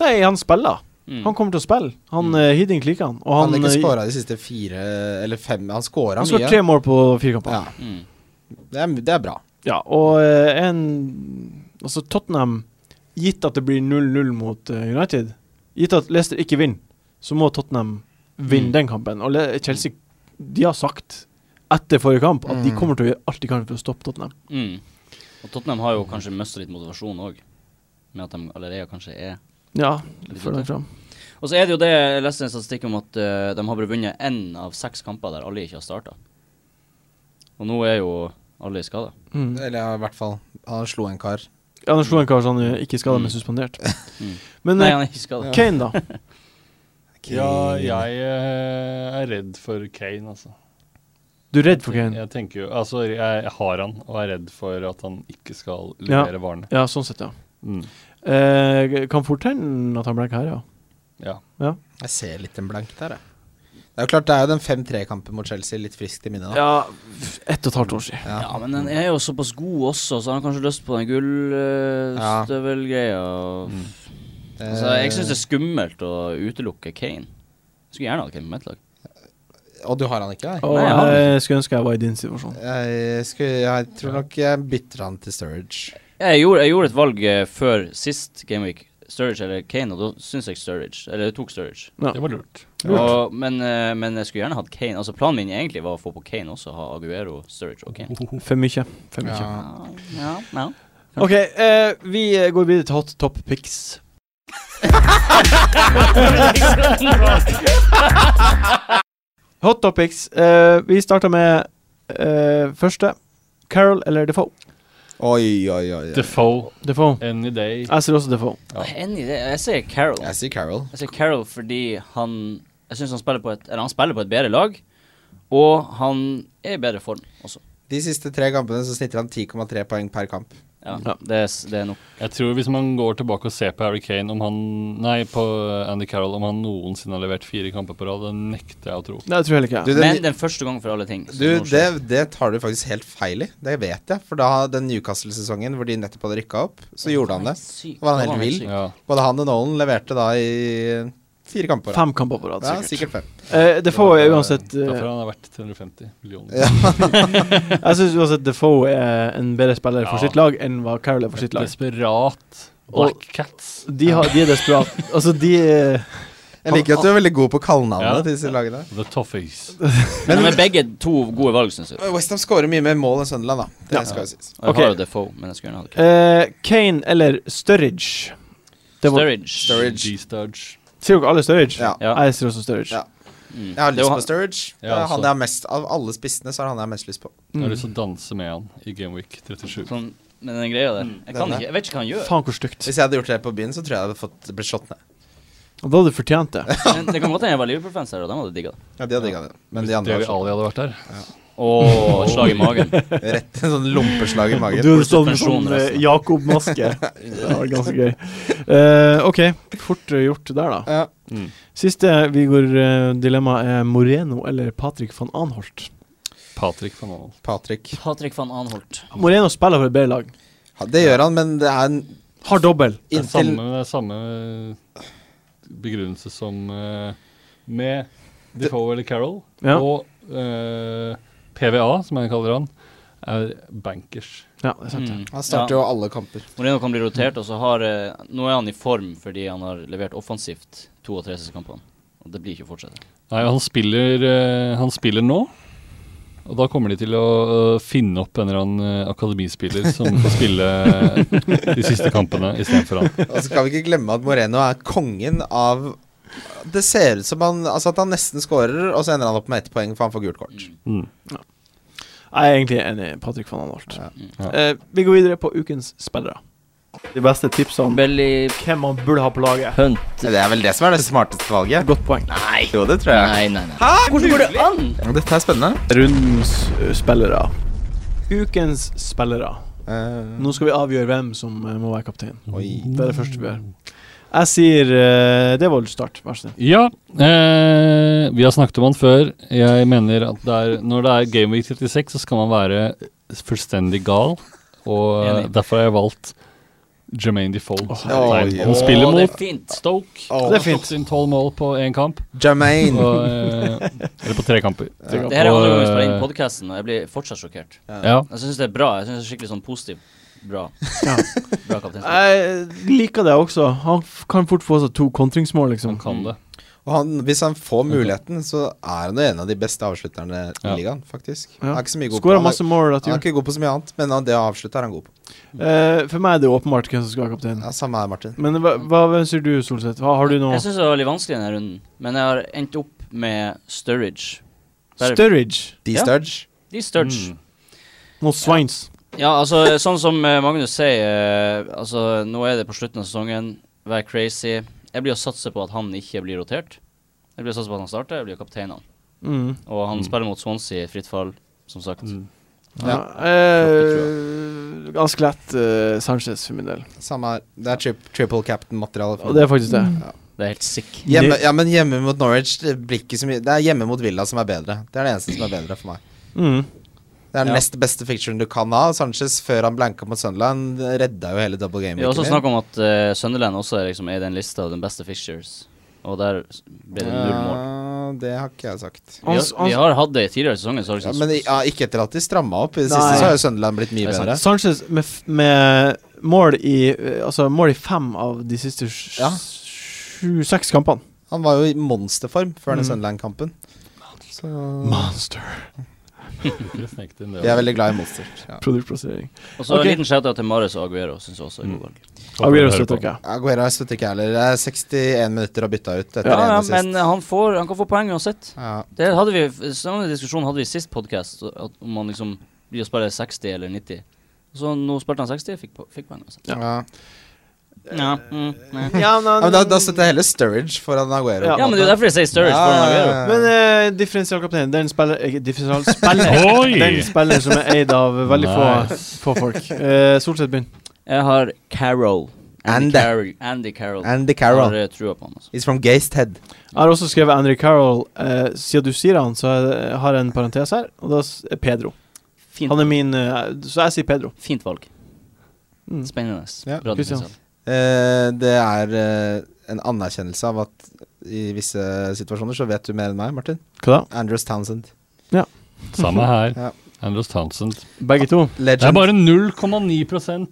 Speaker 1: Nei, han spiller.
Speaker 2: Mm.
Speaker 1: Han kommer til å spille. Han
Speaker 2: Mm.
Speaker 1: mm. Hiddink liker han. Og
Speaker 4: Han
Speaker 1: han,
Speaker 4: har ikke
Speaker 1: eh,
Speaker 4: skåra de siste fire eller fem Han skåra
Speaker 1: han
Speaker 4: mye.
Speaker 1: skårer tre mål på fire kamper.
Speaker 4: Ja,
Speaker 1: Ja,
Speaker 2: Mm.
Speaker 4: det, er, det er bra.
Speaker 1: og eh, en Altså, Tottenham, gitt at det blir 0-0 mot eh, United, gitt at Leicester ikke vinner, så må Tottenham vinne
Speaker 2: Mm.
Speaker 1: den kampen. Og Le- Chelsea de har sagt etter forrige kamp at de
Speaker 4: Mm.
Speaker 1: kommer til å gjøre alt de kan for å stoppe Tottenham.
Speaker 2: Mm. Og Tottenham har jo kanskje mista litt motivasjon òg, med at de allerede kanskje er
Speaker 1: Ja,
Speaker 2: det
Speaker 1: følg
Speaker 2: sant?
Speaker 1: den fram.
Speaker 2: Og så er det jo det jeg leste en statistikk om at eh, de har bare vunnet én av seks kamper der alle ikke har starta. Og nå er jo Alle er skada.
Speaker 1: Mm.
Speaker 4: Eller ja, i hvert fall. Han slo en kar.
Speaker 1: Ja, han slo en kar så han eh, ikke skada, men
Speaker 2: Mm.
Speaker 1: suspendert.
Speaker 2: Mm.
Speaker 1: Men
Speaker 2: Nei,
Speaker 1: eh,
Speaker 2: han er ikke skada.
Speaker 1: Kane, da.
Speaker 5: Ja, jeg eh, er redd for Kane, altså.
Speaker 1: Du er redd for Kane?
Speaker 5: Jeg tenker jo, altså, jeg har han, og er redd for at han ikke skal levere varene.
Speaker 1: Ja, sånn sett, ja.
Speaker 5: Mm.
Speaker 1: Eh, kan fort hende at han ble her, ja.
Speaker 5: Ja.
Speaker 4: Jeg ser litt en blank der, jeg. Det er jo klart, det er jo den 5-3-kampen mot Chelsea litt friskt i minnet, da.
Speaker 1: Ja, f- ett og et halvt år siden.
Speaker 4: Ja.
Speaker 2: Ja, men han er jo såpass god også, så han har kanskje lyst på den
Speaker 4: Ja.
Speaker 2: gullstøvelgreia.
Speaker 5: Mm.
Speaker 2: Altså, jeg syns det er skummelt å utelukke Kane. Jeg skulle gjerne hatt Kane på mitt lag.
Speaker 4: Eh, Og du har han ikke, nei?
Speaker 1: Og
Speaker 2: Nei, jeg har
Speaker 1: jeg skulle ønske jeg var i din situasjon.
Speaker 4: Jeg, skulle, jeg tror nok jeg bytter han til Sturridge.
Speaker 2: Jeg gjorde, jeg gjorde et valg eh, før sist Gameweek. Sturridge eller Kane, og da syns jeg Sturridge. Eller jeg tok Sturridge.
Speaker 1: Ja.
Speaker 5: Det var lurt.
Speaker 2: Og, men, eh, men jeg skulle gjerne hatt Kane. Altså Planen min egentlig var å få på Kane også, ha Aguero, Sturridge og Kane.
Speaker 1: For mye. For mye.
Speaker 4: Ja.
Speaker 2: Ah, Ja, ja.
Speaker 1: OK, eh, vi eh, går videre til hot top pics. Hot topics. Eh, vi starter med eh, første. Carol eller Defoe?
Speaker 4: Oi, oi, oi. oi.
Speaker 5: Defoe,
Speaker 1: Defoe.
Speaker 5: any day.
Speaker 1: Jeg ser også Defoe.
Speaker 5: Ja.
Speaker 2: Enig i det. Jeg sier Carol.
Speaker 4: Jeg sier Carol.
Speaker 2: Jeg sier Carroll fordi han Jeg syns han spiller på et Eller han spiller på et bedre lag, og han er i bedre form også.
Speaker 4: De siste tre kampene så snitter han 10,3 poeng per kamp.
Speaker 2: Ja,
Speaker 1: Ja.
Speaker 2: Det, er, s- det er nok.
Speaker 5: Jeg tror hvis man går tilbake og ser på Harry Kane om han Nei, på Andy Carroll om han noensinne har levert fire kamper på rad, det nekter jeg å tro.
Speaker 1: Nei, jeg tror heller ikke jeg.
Speaker 4: Du, den,
Speaker 2: Men den første gangen for alle ting. så
Speaker 4: du
Speaker 2: nå
Speaker 4: det,
Speaker 2: skjer-
Speaker 4: det tar du faktisk helt feil i. Det vet jeg. For da den Newcastle-sesongen hvor de nettopp hadde rykka opp, så gjorde han det.
Speaker 2: Sykt.
Speaker 4: Da var han
Speaker 2: Da
Speaker 4: helt vill.
Speaker 2: syk.
Speaker 5: Ja.
Speaker 4: Både han og Nolan leverte da i fire kamper.
Speaker 1: Fem kamper på rad,
Speaker 4: Ja,
Speaker 1: sikkert.
Speaker 4: sikkert fem.
Speaker 1: Eh, Defoe er uansett eh,
Speaker 5: Derfor han er verdt 350 millioner.
Speaker 1: Jeg syns uansett Defoe er en bedre spiller for
Speaker 5: Ja.
Speaker 1: sitt lag enn hva Carol er for sitt lag.
Speaker 5: Desperat
Speaker 1: Og-
Speaker 5: Black Cats.
Speaker 1: De, har, de er desperate. Altså, de eh,
Speaker 4: Jeg liker at du er veldig god på
Speaker 5: Ja.
Speaker 4: kallenavnet til disse lagene.
Speaker 5: The Toffees.
Speaker 2: Men de er begge to gode valg, syns jeg.
Speaker 4: Westham skårer mye mer mål enn Sunderland, da. Det skal jo sies.
Speaker 2: Og jeg
Speaker 1: Ok.
Speaker 2: har jo Defoe, men jeg skulle gjerne hatt Carroll.
Speaker 1: eh, Kane eller Sturridge? Det var,
Speaker 2: Sturridge.
Speaker 5: G-Sturge.
Speaker 1: Sier dere alle Sturridge?
Speaker 4: Ja.
Speaker 2: Ja.
Speaker 1: Jeg sier også Sturridge.
Speaker 4: Ja.
Speaker 2: Mm.
Speaker 4: Jeg har
Speaker 2: Det
Speaker 4: lyst
Speaker 2: var
Speaker 4: på Sturridge.
Speaker 5: Ja,
Speaker 4: Det er han
Speaker 5: også.
Speaker 4: jeg har mest Av alle spissene så er det han jeg har mest lyst på.
Speaker 5: Jeg har lyst til å danse med han i Gameweek 37.
Speaker 2: Sånn, men den greia der Jeg kan
Speaker 4: Mm. den er-
Speaker 2: ikke, jeg vet ikke hva han gjør.
Speaker 1: Faen, hvor stygt.
Speaker 4: Hvis jeg hadde gjort det på byen, så tror jeg jeg hadde fått blitt slått ned.
Speaker 1: Og da hadde du fortjent det.
Speaker 2: Men det kan godt hende jeg var Liverpool-fans her, og de hadde digga det.
Speaker 4: Ja, de hadde digga det. Men de
Speaker 5: Hvis
Speaker 4: andre
Speaker 5: Deli
Speaker 4: var
Speaker 5: Ali hadde vært der.
Speaker 2: Åh, slag i magen.
Speaker 4: sånn rett en sånn lompeslag i
Speaker 1: Du
Speaker 4: magen.
Speaker 1: hadde stått med sånn
Speaker 2: Pensjon
Speaker 1: eh,
Speaker 2: resten.
Speaker 1: Jakob-maske. Det var ganske gøy. Eh, OK, fort eh, gjort der, da.
Speaker 4: Ja.
Speaker 1: Siste vi går eh, dilemma er Moreno eller Patrick van Anholt.
Speaker 5: Patrick van Aanholt.
Speaker 4: Patrick.
Speaker 2: Patrick van Anholt.
Speaker 1: Moreno spiller for et bedre lag.
Speaker 4: Ja, det gjør han, men det er en
Speaker 1: Har dobbel.
Speaker 5: Det er
Speaker 4: inntil
Speaker 5: samme, det er samme eh, begrunnelse som eh, med Defoe eller Carroll.
Speaker 1: Ja.
Speaker 5: Og eh, PVA, som jeg kaller han, er bankers.
Speaker 1: Ja, det er sant. det.
Speaker 2: Mm.
Speaker 4: Han starter jo alle kamper.
Speaker 2: Moreno kan bli rotert, og så har eh, Nå er han i form fordi han har levert offensivt to av tre siste kampene. Og det blir ikke å fortsette.
Speaker 5: Nei, han spiller, eh, han spiller nå. Og da kommer de til å eh, finne opp en eller annen eh, akademispiller som får spille eh, de siste kampene istedenfor han.
Speaker 4: Og så skal vi ikke glemme at Moreno er kongen av Det ser ut som han, altså at han nesten skårer, og så ender han opp med ett poeng, for han får gult kort.
Speaker 5: Mm.
Speaker 1: Jeg er egentlig enig i Patrick van Anholt.
Speaker 4: Ja.
Speaker 5: Ja.
Speaker 1: Eh, vi går videre på ukens spillere. De beste tipsene
Speaker 2: Belly
Speaker 1: hvem man burde ha på laget.
Speaker 2: Hunt.
Speaker 4: Det er vel det som er det smarteste valget.
Speaker 1: Godt poeng.
Speaker 4: Jo, det tror jeg.
Speaker 2: Nei, nei, nei. Hæ? Hvordan går det an?
Speaker 4: Dette er spennende.
Speaker 1: Rundens eh, spillere. Ukens spillere.
Speaker 4: Eh,
Speaker 1: Nå skal vi avgjøre hvem som eh, må være kaptein.
Speaker 4: Oi.
Speaker 1: Det er det første vi gjør. Jeg sier uh, Devold start, vær så snill.
Speaker 5: Ja, eh, vi har snakket om han før. Jeg mener at det er, når det er Game Week 36, så skal man være fullstendig gal. Og eh,
Speaker 2: Enig.
Speaker 5: derfor har jeg valgt Jermaine Defoe. som
Speaker 4: herregud.
Speaker 5: kaptein.
Speaker 4: Oi,
Speaker 5: han spiller
Speaker 2: Å, det er
Speaker 5: mot
Speaker 2: fint.
Speaker 5: Stoke.
Speaker 4: Åh.
Speaker 5: Han
Speaker 1: Det er
Speaker 5: har
Speaker 1: fint.
Speaker 5: sluppet inn tolv mål på én kamp. Og,
Speaker 4: Jermaine.
Speaker 5: eh, eller på tre kamper.
Speaker 1: Tre
Speaker 2: Det her er
Speaker 5: Og,
Speaker 2: andre gang vi spiller
Speaker 5: eh,
Speaker 2: inn podkasten, og jeg blir fortsatt sjokkert.
Speaker 5: Ja.
Speaker 2: Jeg syns det er bra. Jeg synes det er Skikkelig sånn positiv. Bra.
Speaker 1: Ja.
Speaker 2: Bra kaptein.
Speaker 1: Jeg liker det også. Han f kan fort få seg to kontringsmål, liksom.
Speaker 5: Han kan det.
Speaker 4: Og han, hvis han får muligheten, så er han jo en av de beste avslutterne i
Speaker 5: Ja.
Speaker 4: ligaen, faktisk.
Speaker 1: Ja.
Speaker 4: Han er ikke så mye god på
Speaker 1: Skåra
Speaker 4: han er-
Speaker 1: masse mål. etter
Speaker 4: Han er
Speaker 1: jul.
Speaker 4: ikke god på så mye annet, men han- det å avslutte er han god på.
Speaker 1: Eh, for meg er det åpenbart hvem som skal være kaptein.
Speaker 4: Ja, samme her, Martin.
Speaker 1: Men hva, hva hvem sier du, Solseth? Hva har du nå?
Speaker 2: Jeg syns det var litt vanskelig denne runden, men jeg har endt opp med Sturridge. Der-
Speaker 1: Sturridge.
Speaker 4: D.
Speaker 2: Ja.
Speaker 1: Mm.
Speaker 4: Sturge.
Speaker 2: De Sturge.
Speaker 1: Noen swines.
Speaker 2: Ja, altså, sånn som eh, Magnus sier, eh, altså, nå er det på slutten av sesongen. Vær crazy. Jeg blir å satse på at han ikke blir rotert. Jeg blir å satse på at han starter, jeg blir kaptein han.
Speaker 1: Mm.
Speaker 2: Og han
Speaker 5: Mm.
Speaker 2: spiller mot Swansea i fritt fall, som sagt.
Speaker 1: Ja. eh, ganske lett eh, Sanchez for min del.
Speaker 4: Samme her. Det er tri triple captain-materiale.
Speaker 1: Og det er faktisk det.
Speaker 2: Det er helt sick.
Speaker 4: Hjemme, ja, men hjemme mot Norwich det, blir ikke så mye. det er hjemme mot Villa som er bedre. Det er det eneste som er bedre for meg.
Speaker 1: Mm.
Speaker 4: Det er den
Speaker 2: Ja.
Speaker 4: nest beste ficturen du kan ha. Sanchez, før han blanka mot Sunderland, redda jo hele double game.
Speaker 2: Vi har også snakka om at eh, Sunderland også er, liksom, er i den lista av den beste fixtures, og der s- ble det null mål.
Speaker 4: det har ikke jeg sagt.
Speaker 2: Vi har,
Speaker 1: Hans- hans-
Speaker 2: vi har hatt det i tidligere sesonger, så har
Speaker 4: Ja,
Speaker 2: liksom
Speaker 4: men i- ja, ikke etter at de stramma opp. I det
Speaker 1: Nei.
Speaker 4: siste så har jo Sunderland blitt mye
Speaker 2: Det er sant.
Speaker 4: bedre.
Speaker 1: Sanchez med, f med mål i eh, Altså mål i fem av de siste sj-
Speaker 4: Ja.
Speaker 1: sju seks kampene.
Speaker 4: Han var jo i monsterform før den
Speaker 1: Mm.
Speaker 4: Sunderland-kampen. Så
Speaker 1: Monster.
Speaker 4: jeg er veldig glad i monster. Ja.
Speaker 1: Produktplassering.
Speaker 2: Og så
Speaker 1: Ok.
Speaker 2: en liten shout-out til Marius og Aguero, syns jeg også er
Speaker 5: Mm.
Speaker 2: god valg.
Speaker 1: Aguero støtter ikke.
Speaker 4: Aguero støtter ikke jeg heller. Det er 61 minutter å bytte ut etter
Speaker 2: Ja, ja,
Speaker 4: ene sist.
Speaker 2: men han, får, han kan få poeng uansett.
Speaker 4: ja.
Speaker 2: Det hadde vi, Samme diskusjon hadde vi i sist podkast, om han liksom blir å spille 60 eller 90. Så nå spilte han 60, fikk, po- fikk poeng uansett.
Speaker 4: Ja.
Speaker 2: Ja, mm, nei.
Speaker 4: Ja, men da, da støtter jeg heller Sturridge foran Aguero.
Speaker 1: Ja.
Speaker 2: ja, men det er jo derfor jeg sier Sturridge
Speaker 4: Ja,
Speaker 2: foran
Speaker 4: ja, ja.
Speaker 2: Aguero.
Speaker 1: Men eh, differensialkapteinen, den spiller eh, Differensialspiller
Speaker 5: Oi!
Speaker 1: Den spiller som er eid av veldig
Speaker 5: Nice.
Speaker 1: få, få folk. Eh, Solseth begynn.
Speaker 2: Jeg har Carol.
Speaker 4: Andy.
Speaker 2: Carroll. Andy Carroll.
Speaker 4: Andy Carroll.
Speaker 2: Har eh, trua på han, altså.
Speaker 4: He's from Gastehead.
Speaker 1: Jeg har også skrevet Andrew Carroll. Eh, siden du sier han, så er det- jeg har jeg en parentes her, og da s- er Pedro.
Speaker 2: Fint,
Speaker 1: Han er min eh, Så jeg sier Pedro.
Speaker 2: fint valg.
Speaker 1: Mm.
Speaker 2: Spennende.
Speaker 4: Ja,
Speaker 2: Bra
Speaker 1: Christian.
Speaker 2: defensiv.
Speaker 4: Eh, det er eh, en anerkjennelse av at i visse situasjoner så vet du mer enn meg, Martin.
Speaker 1: Hva da?
Speaker 4: Andrews Townsend.
Speaker 5: Samme her.
Speaker 4: Ja.
Speaker 5: Andros Townsend.
Speaker 1: Begge to.
Speaker 5: Det er
Speaker 4: Legend.
Speaker 5: bare 0,9 som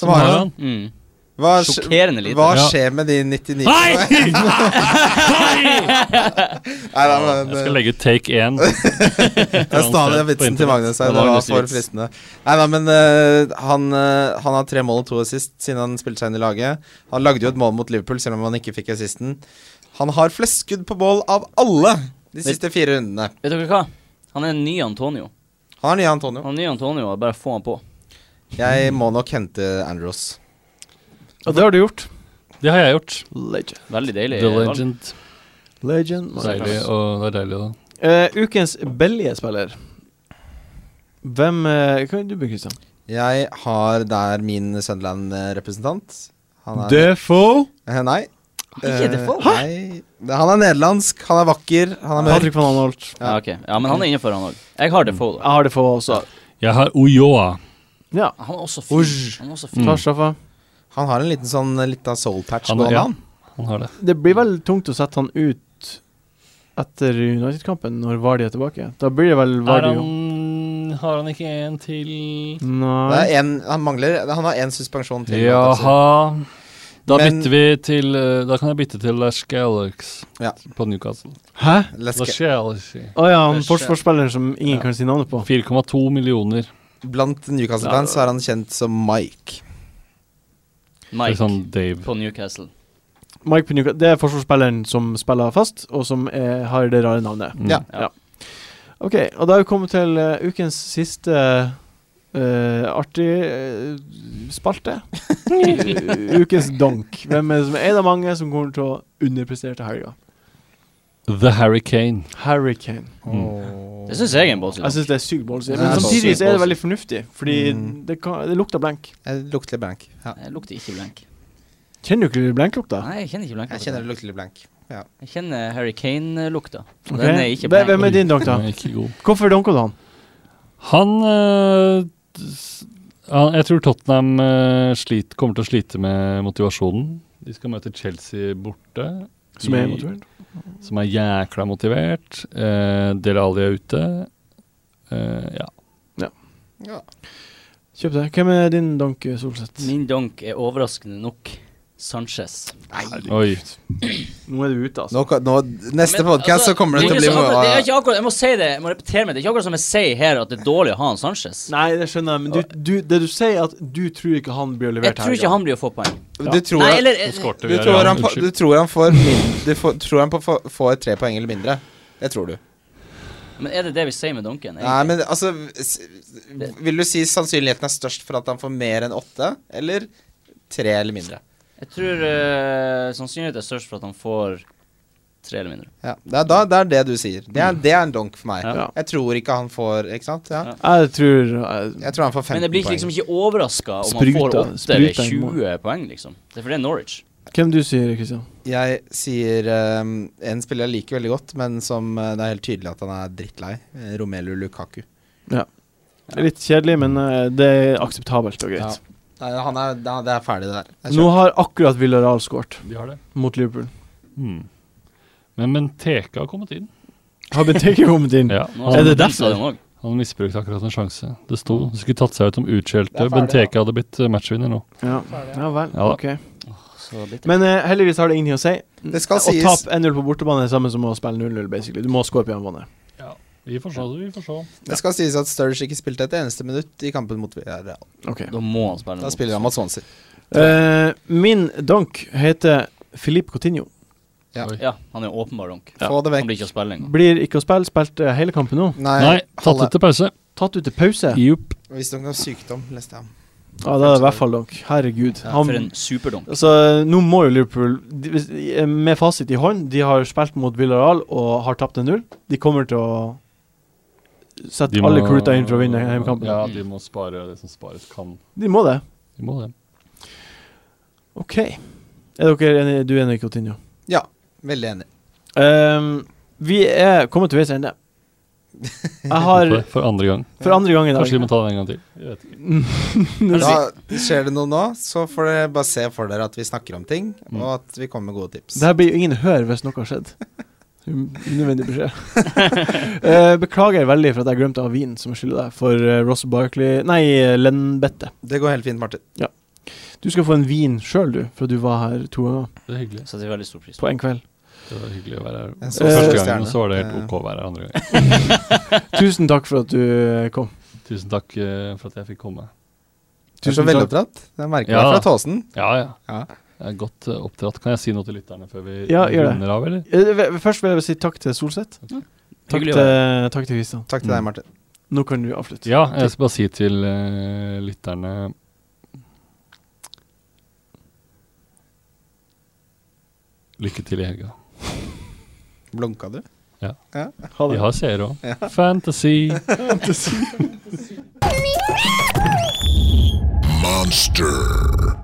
Speaker 4: som har han.
Speaker 2: Mm.
Speaker 4: Hva, skj-
Speaker 2: Sjokkerende lite.
Speaker 4: hva
Speaker 5: Ja.
Speaker 4: skjer med de 99
Speaker 5: Nei!
Speaker 4: Nei, da, men,
Speaker 5: Jeg skal legge ut take 1.
Speaker 4: Jeg stal den vitsen til Magnus her. Det var for fristende. Nei da, men eh, han, eh, han har tre mål og to assist siden han spilte seg inn i laget. Han lagde jo et mål mot Liverpool, selv om han ikke fikk assisten. Han har flest skudd på mål av alle de siste fire rundene.
Speaker 2: Vet dere hva? Han er en ny Antonio.
Speaker 4: Han er nye Antonio.
Speaker 2: Han er en ny Antonio, og bare få han på.
Speaker 4: Jeg må nok hente Andros.
Speaker 1: Og det har du gjort.
Speaker 5: Det har jeg gjort.
Speaker 1: Legend.
Speaker 2: Veldig deilig.
Speaker 5: The
Speaker 2: valg.
Speaker 5: Legend.
Speaker 1: Legend.
Speaker 5: Deilig, og det er deilig, da.
Speaker 1: Eh, ukens billige spiller. Hvem eh, Hva er du, Kristian?
Speaker 4: Jeg har der min Sunderland-representant. Han er
Speaker 1: Defoe.
Speaker 4: Eh, Nei.
Speaker 2: Ikke
Speaker 4: Eh,
Speaker 2: Defoe?
Speaker 4: nei. Det- Han er nederlandsk, han er vakker, han er mørk.
Speaker 1: Patrick van Anholt.
Speaker 2: Ja, ok. ja, men han er innenfor, han òg. Jeg har Defoe,
Speaker 1: Jeg
Speaker 4: Mm.
Speaker 2: da.
Speaker 1: har Defoe også.
Speaker 5: Jeg har Oyoa.
Speaker 1: Ja.
Speaker 2: Han er også fin. Han er også
Speaker 5: Mm.
Speaker 2: fin.
Speaker 1: Tar straffa.
Speaker 4: Han har en liten sånn eh, liten soul patch
Speaker 5: Han
Speaker 4: på
Speaker 5: er- ja.
Speaker 4: hånda.
Speaker 5: Han har det.
Speaker 1: Det blir vel tungt å sette han ut etter United-kampen, når Vardy er tilbake. Da blir det vel
Speaker 5: Er
Speaker 1: Vardy
Speaker 5: han,
Speaker 1: jo
Speaker 5: har han ikke en til
Speaker 4: Det
Speaker 1: Nei.
Speaker 4: er en, han mangler Han har én suspensjon til.
Speaker 5: Jaha. Da
Speaker 4: Men-
Speaker 5: bytter vi til eh, Da kan jeg bytte til Lash Galax
Speaker 4: Ja.
Speaker 5: på Newcastle.
Speaker 1: Hæ?
Speaker 4: Let's
Speaker 5: Lash
Speaker 4: get-
Speaker 5: Galax.
Speaker 1: Å ja, han
Speaker 4: Det skjer.
Speaker 1: forsvarsspilleren som ingen
Speaker 5: Ja.
Speaker 1: kan si navnet på.
Speaker 5: 4,2 millioner.
Speaker 4: Blant Newcastle-fans så er han kjent som Mike.
Speaker 5: Eller
Speaker 2: Mike
Speaker 5: sånn Dave.
Speaker 2: på Newcastle.
Speaker 1: Mike Pinuka, det er forsvarsspilleren som spiller fast, og som er, har det rare navnet.
Speaker 5: Mm.
Speaker 4: Ja.
Speaker 1: Ok, og da er vi kommet til eh, ukens siste eh, artig eh, spalte. ukens donk. Hvem er det som er en av mange som kommer til å underprestere til helga?
Speaker 5: The Hurricane.
Speaker 1: Harry Kane.
Speaker 2: Mm. Det syns jeg er en båtside.
Speaker 1: Jeg syns det er sykt ballsy,
Speaker 4: Det
Speaker 1: men
Speaker 4: er
Speaker 1: samtidig
Speaker 2: sykt
Speaker 1: så er det
Speaker 2: ballsy.
Speaker 1: veldig fornuftig, fordi
Speaker 4: Mm.
Speaker 1: det, kan, det lukter blenk.
Speaker 4: Jeg lukter litt blank. Ja.
Speaker 2: Jeg lukter ikke blank.
Speaker 1: Kjenner du ikke blenklukta?
Speaker 2: Nei, jeg kjenner ikke blank.
Speaker 4: Jeg kjenner det lukter litt blank. Ja.
Speaker 2: Jeg kjenner Harry Kane-lukta. Og
Speaker 1: Ok.
Speaker 2: Den er ikke
Speaker 1: Hve-
Speaker 2: blank.
Speaker 1: Hvem er din donk, da?
Speaker 5: Den er Ikke god.
Speaker 1: Hvorfor donka du han?
Speaker 5: Han eh, s- han- Jeg tror Tottenham eh, slit, kommer til å slite med motivasjonen. De skal møte Chelsea borte,
Speaker 1: Som er
Speaker 5: I-
Speaker 1: motivert?
Speaker 5: som er jækla motivert. Uh, Dele Alli er ute. Eh, ja.
Speaker 4: Ja.
Speaker 1: Kjøp det. Hvem er din donk, Solseth?
Speaker 2: Min donk er overraskende nok Sanchez.
Speaker 5: Oi.
Speaker 1: Nå er du ute, altså.
Speaker 4: Nå, ka- nå, neste
Speaker 2: Men,
Speaker 4: podkast
Speaker 2: altså,
Speaker 4: så kommer det til å
Speaker 2: er
Speaker 4: bli
Speaker 2: ikke så-
Speaker 4: noe-
Speaker 2: det er ikke akkurat, Jeg må si det, jeg må repetere meg. Det er ikke akkurat som jeg sier her, at det er dårlig å ha en Sanchez.
Speaker 1: Nei, det skjønner jeg, men du, du, det du sier, er at du tror ikke han blir levert
Speaker 2: Jeg tror ikke han blir å få poeng.
Speaker 4: Du tror
Speaker 2: Nei,
Speaker 4: at-
Speaker 2: eller
Speaker 5: Skårte
Speaker 4: Du
Speaker 5: vi her,
Speaker 4: tror,
Speaker 5: ja.
Speaker 4: han, får-
Speaker 5: Unnskyld.
Speaker 4: du tror han får min- Du får, tror han på- får, får tre poeng eller mindre? Det tror du.
Speaker 2: Men er det det vi sier med Duncan? egentlig?
Speaker 4: Nei, men altså s- Vil du si sannsynligheten er størst for at han får mer enn åtte, eller tre eller mindre?
Speaker 2: Jeg tror eh, sannsynligheten er størst for at han får tre eller mindre.
Speaker 4: Ja, det er, da, det er det du sier. Det er, det er en donk for meg.
Speaker 1: Ja.
Speaker 4: Jeg tror ikke han får Ikke sant? Ja.
Speaker 2: Ja.
Speaker 1: Jeg tror eh,
Speaker 4: Jeg tror han får
Speaker 2: Men
Speaker 4: 15
Speaker 2: jeg blir
Speaker 4: poeng.
Speaker 2: ikke- liksom ikke overraska om han får
Speaker 1: Spruta-
Speaker 2: 8 eller
Speaker 1: spruta i mål.
Speaker 2: 20 poeng, liksom. Det er for det er Norwich.
Speaker 1: Hvem du sier, Kristian?
Speaker 4: Jeg sier ehm, en spiller jeg liker veldig godt, men som eh, det er helt tydelig at han er drittlei. eh, Romelu Lukaku.
Speaker 1: Det er litt kjedelig, men eh, det er akseptabelt og greit.
Speaker 4: Nei, han er, da- det er ferdig, det der. Jeg
Speaker 1: Nå
Speaker 4: kjøper.
Speaker 1: har akkurat Villarreal skåret
Speaker 5: De har det.
Speaker 1: mot Liverpool.
Speaker 5: Hmm. Men Benteke har kommet inn.
Speaker 1: Har Benteke kommet
Speaker 4: Mm.
Speaker 1: inn?
Speaker 5: Ja,
Speaker 2: Nå
Speaker 5: han,
Speaker 2: har
Speaker 1: Er det
Speaker 2: han
Speaker 1: derfor?
Speaker 2: mistet den også.
Speaker 5: han misbrukte akkurat en sjanse. Det sto det skulle tatt seg ut om utskjelte.
Speaker 4: Det er ferdig,
Speaker 5: Benteke hadde blitt eh, matchvinner nå.
Speaker 1: Ja. ja vel,
Speaker 5: Ja da.
Speaker 1: ok.
Speaker 2: Så bitter.
Speaker 1: Men eh, heldigvis har det ingenting å si.
Speaker 4: Det skal
Speaker 1: Å
Speaker 4: sies.
Speaker 1: tape 1-0 på bortebane er det samme som å spille 0-0, basically. Du må score på hjemmebane.
Speaker 5: Vi får se, vi får se.
Speaker 4: Det skal sies at Sturridge ikke spilte et eneste minutt i kampen mot Villarreal.
Speaker 1: Ok.
Speaker 2: Da må han spille
Speaker 4: Da
Speaker 2: mot
Speaker 4: spiller han mot Swansea.
Speaker 1: Eh, min donk heter Filip Coutinho.
Speaker 4: Ja.
Speaker 5: Oi.
Speaker 2: Ja, han er åpenbar donk.
Speaker 1: Ja.
Speaker 4: Få det
Speaker 2: Han
Speaker 4: vekk.
Speaker 2: blir ikke å spille engang.
Speaker 1: Blir ikke å spille, spilte hele kampen nå.
Speaker 5: Nei, tatt
Speaker 4: halve.
Speaker 5: ut til pause.
Speaker 1: Tatt ut til pause. Ja,
Speaker 5: Jupp.
Speaker 4: Visstnok av sykdom, leste jeg om.
Speaker 1: da er det i hvert fall donk. Herregud.
Speaker 4: Ja,
Speaker 2: For
Speaker 1: Han,
Speaker 2: en superdonk.
Speaker 1: altså, nå må jo Liverpool de, hvis- eh, Med fasit i hånd, de har spilt mot Villarreal og har tapt 1-0. De kommer til å sette
Speaker 5: De
Speaker 1: alle
Speaker 5: må-
Speaker 1: kruta inn for å vinne hjemmekampen.
Speaker 5: Ja, de må spare det som spares kan.
Speaker 1: De må det.
Speaker 5: De må det.
Speaker 1: OK. Er dere enige? Du er enig, Coutinho?
Speaker 4: Ja, veldig enig.
Speaker 1: Ehm, vi er kommet til veis ende. Jeg har
Speaker 5: For, for andre gang.
Speaker 1: for andre gang i dag
Speaker 5: Kanskje vi må ta det en gang til. Jeg vet ikke.
Speaker 4: Da skjer det noe nå, så får dere bare se for dere at vi snakker om ting,
Speaker 5: Mm.
Speaker 4: og at vi kommer med gode tips.
Speaker 1: Det her blir jo ingen hør hvis noe har skjedd. Unødvendig beskjed. Eh, beklager veldig for at jeg glemte å ha vin som jeg skylder deg, for eh, Ross Barkley Nei, eh, Lennbette.
Speaker 4: Det går helt fint, Martin.
Speaker 1: Du skal få en vin sjøl, du, for du var her to ganger
Speaker 5: Det er hyggelig.
Speaker 2: Setter veldig stor pris på.
Speaker 1: på én kveld.
Speaker 5: Det var hyggelig å være her.
Speaker 4: En så
Speaker 1: stor
Speaker 5: Første gangen,
Speaker 4: stjerne.
Speaker 5: og så var det helt
Speaker 4: Eh.
Speaker 5: ok å være her andre gangen.
Speaker 1: Tusen takk for at du eh, kom.
Speaker 5: Tusen takk eh, for at jeg fikk komme.
Speaker 4: Du er så
Speaker 1: Tusen takk.
Speaker 4: veloppdratt. Jeg merker
Speaker 5: Ja.
Speaker 4: det fra tåsen.
Speaker 5: Ja, ja.
Speaker 4: Ja.
Speaker 5: Jeg er godt eh, oppdratt. Kan jeg si noe til lytterne før vi
Speaker 1: Ja, gjør det.
Speaker 5: runder av, eller?
Speaker 1: Eh, ve- Først vil jeg si takk til Solseth. Takk
Speaker 2: Mm. Hyggelig å
Speaker 1: til, eh, takk til Kristian.
Speaker 4: Takk til
Speaker 5: Mm.
Speaker 4: deg, Martin.
Speaker 1: Nå kan du avslutte.
Speaker 5: Ja, jeg skal bare si til eh, lytterne Lykke til i helga.
Speaker 4: Blunka du?
Speaker 1: Ha
Speaker 5: Vi
Speaker 1: det.
Speaker 5: har seere òg. Fantasy.
Speaker 6: Monster.